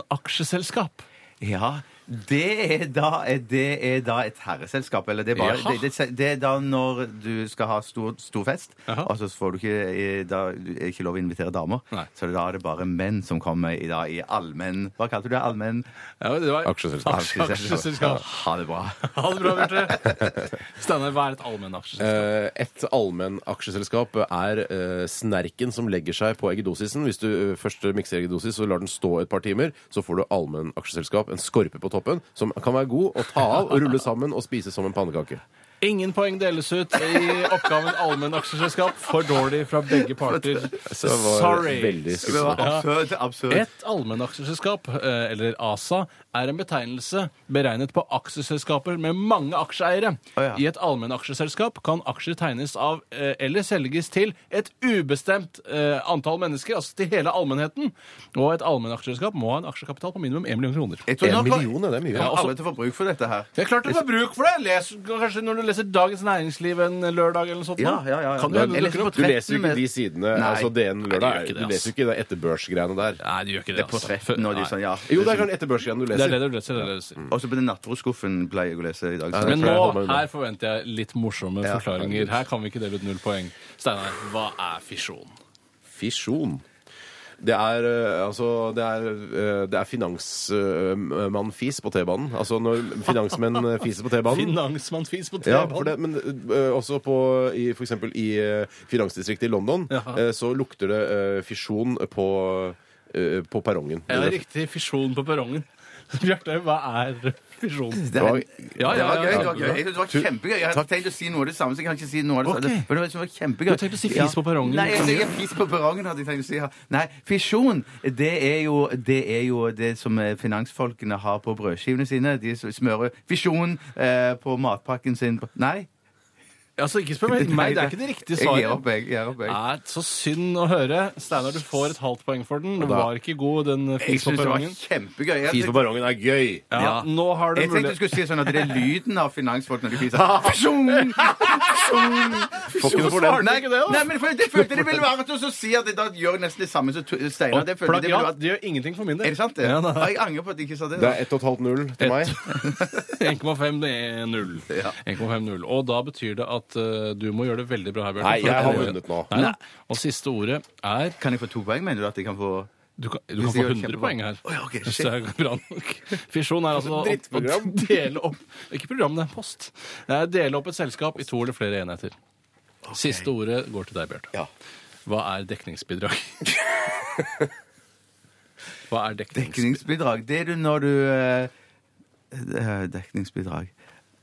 allmennaksjeselskap? Ja, det er da, det er da et herreselskap. Eller det er, bare, Jaha. det, det, det er da når du skal ha stor, stor fest, Jaha. og så får du ikke, eh, da, er ikke lov å invitere damer. Nei. Så da er det bare menn som kommer i, da, i allmenn Hva kalte du det? Allmenn Ja, det var Aksjeselskap. Aksje- Aksjeselskap. Ha det bra. Ha det bra, Bjarte. Steinar, hva er et allmennaksjeselskap? Eh, Et allmennaksjeselskap er eh, snerken som legger seg på eggedosisen. Hvis du eh, først mikser eggedosis og lar den stå et par timer, så får du allmennaksjeselskap, en skorpe på toppen, som kan være god å ta av, rulle sammen og spise som en pannekake. Ingen poeng deles ut i oppgaven allmennaksjeselskap. For dårlig fra begge parter. Så det var Sorry. veldig Det var skuffende. absurd. absurd. Et allmennaksjeselskap, eh, eller ASA, er en betegnelse beregnet på aksjeselskaper med mange aksjeeiere. Å, ja. I et allmennaksjeselskap kan aksjer tegnes av eh, eller selges til et ubestemt eh, antall mennesker, altså til hele allmennheten. Og et allmennaksjeselskap må ha en aksjekapital på minimum 1 million kroner. Jeg tror En nok- million, ja, det er mye. Ja, Ja, altså- alle til å få bruk for dette her. Det er klart du får bruk for det! Les, kanskje når du leser Dagens Næringsliv en lørdag eller noe sånt. Ja, nå. ja, ja, ja. Kan du Jeg hende det leser dukker på opp? Du leser jo Tretten ikke de med- sidene. Nei. altså DN Nei, du gjør lørdag. ikke det, Du altså. leser jo ikke det etterbørsgreiene der. Nei, du gjør ikke det. På altså. tretten og de Nei. sånn, ja. Jo, det er kanskje etterbørsgreiene du Det er leser. det du leser. Det er det du leser. Og så på den nattrodskuffen pleier jeg å lese i dag. så- Men tror jeg nå, holder meg unna. her forventer jeg litt morsomme forklaringer. Her kan vi ikke dele ut null poeng. Steinar, hva er fisjon? Fisjon. Det er eh, altså Det er, eh, det er finansmann-fis på T-banen. Altså når finansmenn eh, fiser på T-banen. Finansmannfis på Ja, T-banen. for det, men eh, også på, i, for eksempel i eh, finansdistriktet i London Jaha. eh, så lukter det eh, fisjon på eh, på perrongen. Ja, riktig fisjon på perrongen. Bjarte, hva er fisjon? Det var, Ja, det ja, var ja, gøy. ja. Det var gøy. Jeg synes det var kjempegøy. Jeg hadde tenkt å si noe av det samme, så jeg kan ikke si noe av det Ok. samme. Men det var- det var kjempegøy. Du tenkte å si fis på perrongen. Nei, jeg, jeg, fis på perrongen hadde jeg tenkt å si. Ja. Nei, fisjon, det er jo det, er jo det som eh, finansfolkene har på brødskivene sine. De som smører fisjon eh, på matpakken sin. Nei. Altså, ikke spør meg. Nei, det er ikke det riktige Jeg gir opp, svaret. Ah, jeg. jeg gir opp, Det jeg. er så synd å høre. Steinar, du får et halvt poeng for den. Du var ikke god, den Jeg fis på syns det var perrongen. kjempegøy. Jeg, Fis på perrongen er gøy! Ja, nå har du jeg tenkte du mulighet. skulle si sånn at det er lyden av finansfolk når de fiser. Fisjon! Fisjon! Får ikke noe for den. Nei, ikke det, da? nei, men for- det følte det ville være til å si at det da gjør nesten det samme som tu- Steinar. Og Det følte det ville plagiat vært det gjør ingenting for min del. Er det sant, det? Ja, da. Ja, jeg angrer på at jeg ikke sa det. Det da. er 1,5-0 til meg. 1,5 det er null. Ja. 1,50. Og da betyr det at eh, du må gjøre det veldig bra her, Bjarte. Nei, for jeg at- har vunnet nå. Nei, nei. Og siste ordet er Kan jeg få to poeng, mener du? At jeg kan få Du kan, du Hvis kan jeg få gjør 100 kjempebra. poeng her. Å ja, ok, Hvis shit. det er bra nok. Fisjon er altså å, å Drittprogram. dele opp Ikke program, det er en post. Det er å dele opp et selskap i to eller flere enheter. Siste ordet går til deg, Bjarte. Ja. Hva er dekningsbidrag? Hva er dekningsbidrag? dekningsbidrag? Det er du når du eh, eh, Dekningsbidrag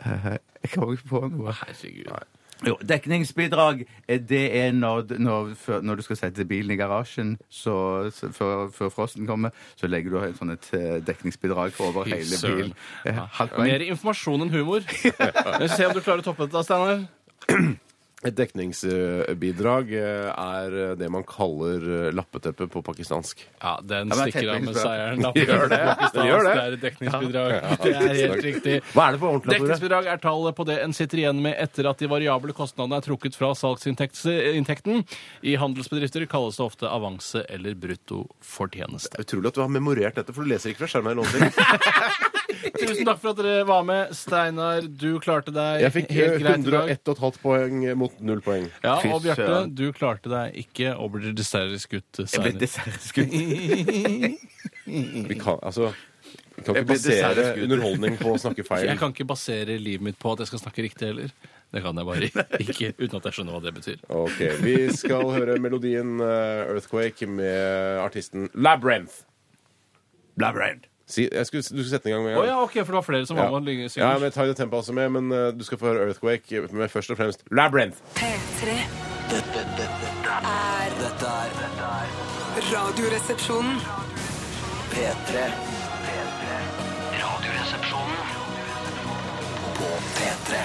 Eh, Jeg kommer ikke på noe. Herregud. Jo, dekningsbidrag, eh, det er når, d- når, før- når du skal sette bilen i garasjen så, så, før, før frosten kommer, så legger du et sånt et eh, dekningsbidrag for over Fy hele søren. bilen. Eh, Halvt poeng. Mer informasjon enn humor. Vi får se om du klarer å toppe dette, Steinar. Et dekningsbidrag eh, er det man kaller eh, lappeteppe på pakistansk. Ja, den men jeg stikker av med tenker seieren. da. Gjør det. Pakistan, Gjør det. Det er et dekningsbidrag. Det er helt riktig. Hva er det for ordentlig, Tore? Dekningsbidrag er tallet på det en sitter igjen med etter at de variable kostnadene er trukket fra salgsinntekten. I handelsbedrifter kalles det ofte avanse eller brutto fortjeneste. Utrolig at du har memorert dette, for du leser ikke fra skjermen. eller noen ting. Tusen takk for at dere var med. Steinar, du klarte deg Jeg fikk eh, helt greit i dag. 101,5 poeng mot 0 poeng. Ja, Fy og Bjarte, søren. du klarte deg ikke og blir dessverre skutt Jeg ble seinere. dessertskudd. Vi kan, altså, vi kan Jeg ikke ble basere dessertskudd. underholdning på å snakke feil. Jeg kan ikke basere livet mitt på at jeg skal snakke riktig heller. Det kan jeg bare ikke, uten at jeg skjønner hva det betyr. Ok, Vi skal høre melodien eh, 'Earthquake' med artisten Labyrinth. Blabrand. Si, jeg skulle, du skulle sette den i gang med en Å gang. ja, ok, for det var flere som Ja. var med. og Ja, synger. men jeg tar jo tempo også med, men eh, du skal få høre Earthquake med først og fremst Labyrinth. P3. Dette, dette, dette er Dette er dette er Radioresepsjonen. P3. P3. Radioresepsjonen på P3.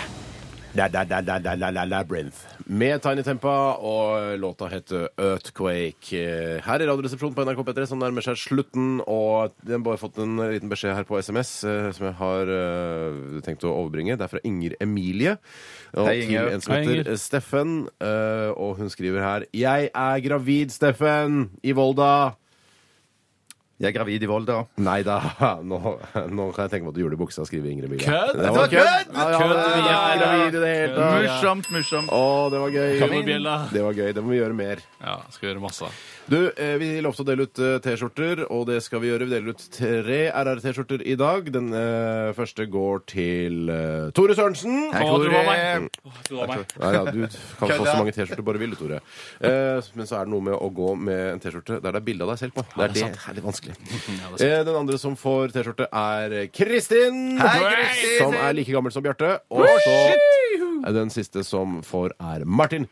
La, la, la, la, la, la, la, Labyrinth. Med Tiny Tempa, og eh, låta heter Earthquake. Eh, Her i Radioresepsjonen på NRK P3 som nærmer seg slutten, og jeg har bare fått en liten beskjed her på SMS eh, som jeg har eh, tenkt å overbringe. Det er fra Inger Emilie. Og Hei, Inger. til en som Hei, heter Inger. Steffen, eh, og hun skriver her Jeg er gravid, Steffen! I Volda! Jeg er gravid i Volda. Nei da, nå, nå kan jeg tenke meg at du gjorde det i buksa, skriver Ingrid Emilie. Kødd! Det var kødd! Ja, ja, Kødd! vi er ikke gravide i det hele tatt. Morsomt, morsomt. Å, det var gøy. Kammerbjella. Det var gøy, det må vi gjøre mer. Ja, skal gjøre masse. Du, eh, vi lovte å dele ut eh, T-skjorter, og det skal vi gjøre. Vi deler ut tre RR-T-skjorter i dag. Den eh, første går til eh, Tore Sørensen. Hei, Å, du var Tore. meg. Å, du var meg. Ja, ja, du kan få så mange T-skjorter du bare vil, du, Tore. Eh, men så er det noe med å gå med en T-skjorte der det er bilde av deg selv på. Det er, det er litt vanskelig. Eh, den andre som får T-skjorte, er Kristin. Kristin! Som er like gammel som Bjarte. Og så er den siste som får, er Martin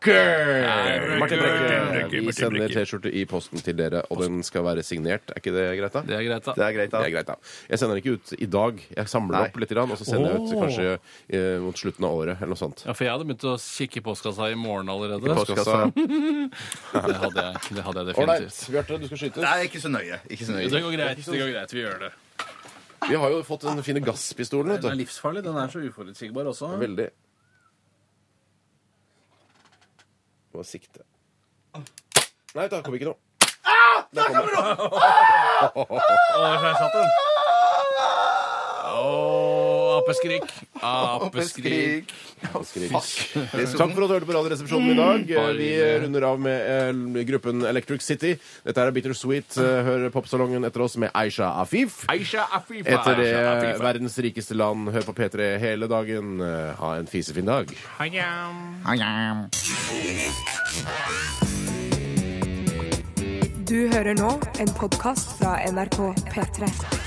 Brekker. Martin Brekker. Vi sender T-skjorte i posten til dere, og den skal være signert. Er ikke det greit, da? Det er greit, Det da. er greit, Det da. er greit, da. Jeg sender den ikke ut i dag. Jeg samler det Nei. opp litt, grann, og så sender jeg ut Åh. kanskje eh, mot slutten av året eller noe sånt. Ja, for jeg hadde begynt å kikke i postkassa i morgen allerede. Postkassa. Det hadde jeg, det hadde jeg definitivt. Ålreit, Bjarte, du skal skytes. Nei, ikke så nøye. Ikke så Det nøye. går greit, det går greit. Vi gjør det. Vi har jo fått den fine gasspistolen, Den er vet du. livsfarlig. Den er så uforutsigbar også. Veldig. Må sikte. Nei, da kom ikke noe. Å, apeskrik. Apeskrik. Skrik. Skrik. Det er så Takk for at du hørte på Radioresepsjonen i dag. Eh, Bare Vi hyggelig. runder av med eh, gruppen Electric City. Dette er Bittersweet. Eh, Hør Popsalongen etter oss med Aisha Afif. Aisha Afifa. Etter det Aisha Afifa. verdens rikeste land. Hør på P3 hele dagen. Eh, Ha en fisefin dag. Du hører nå en podkast fra NRK P3.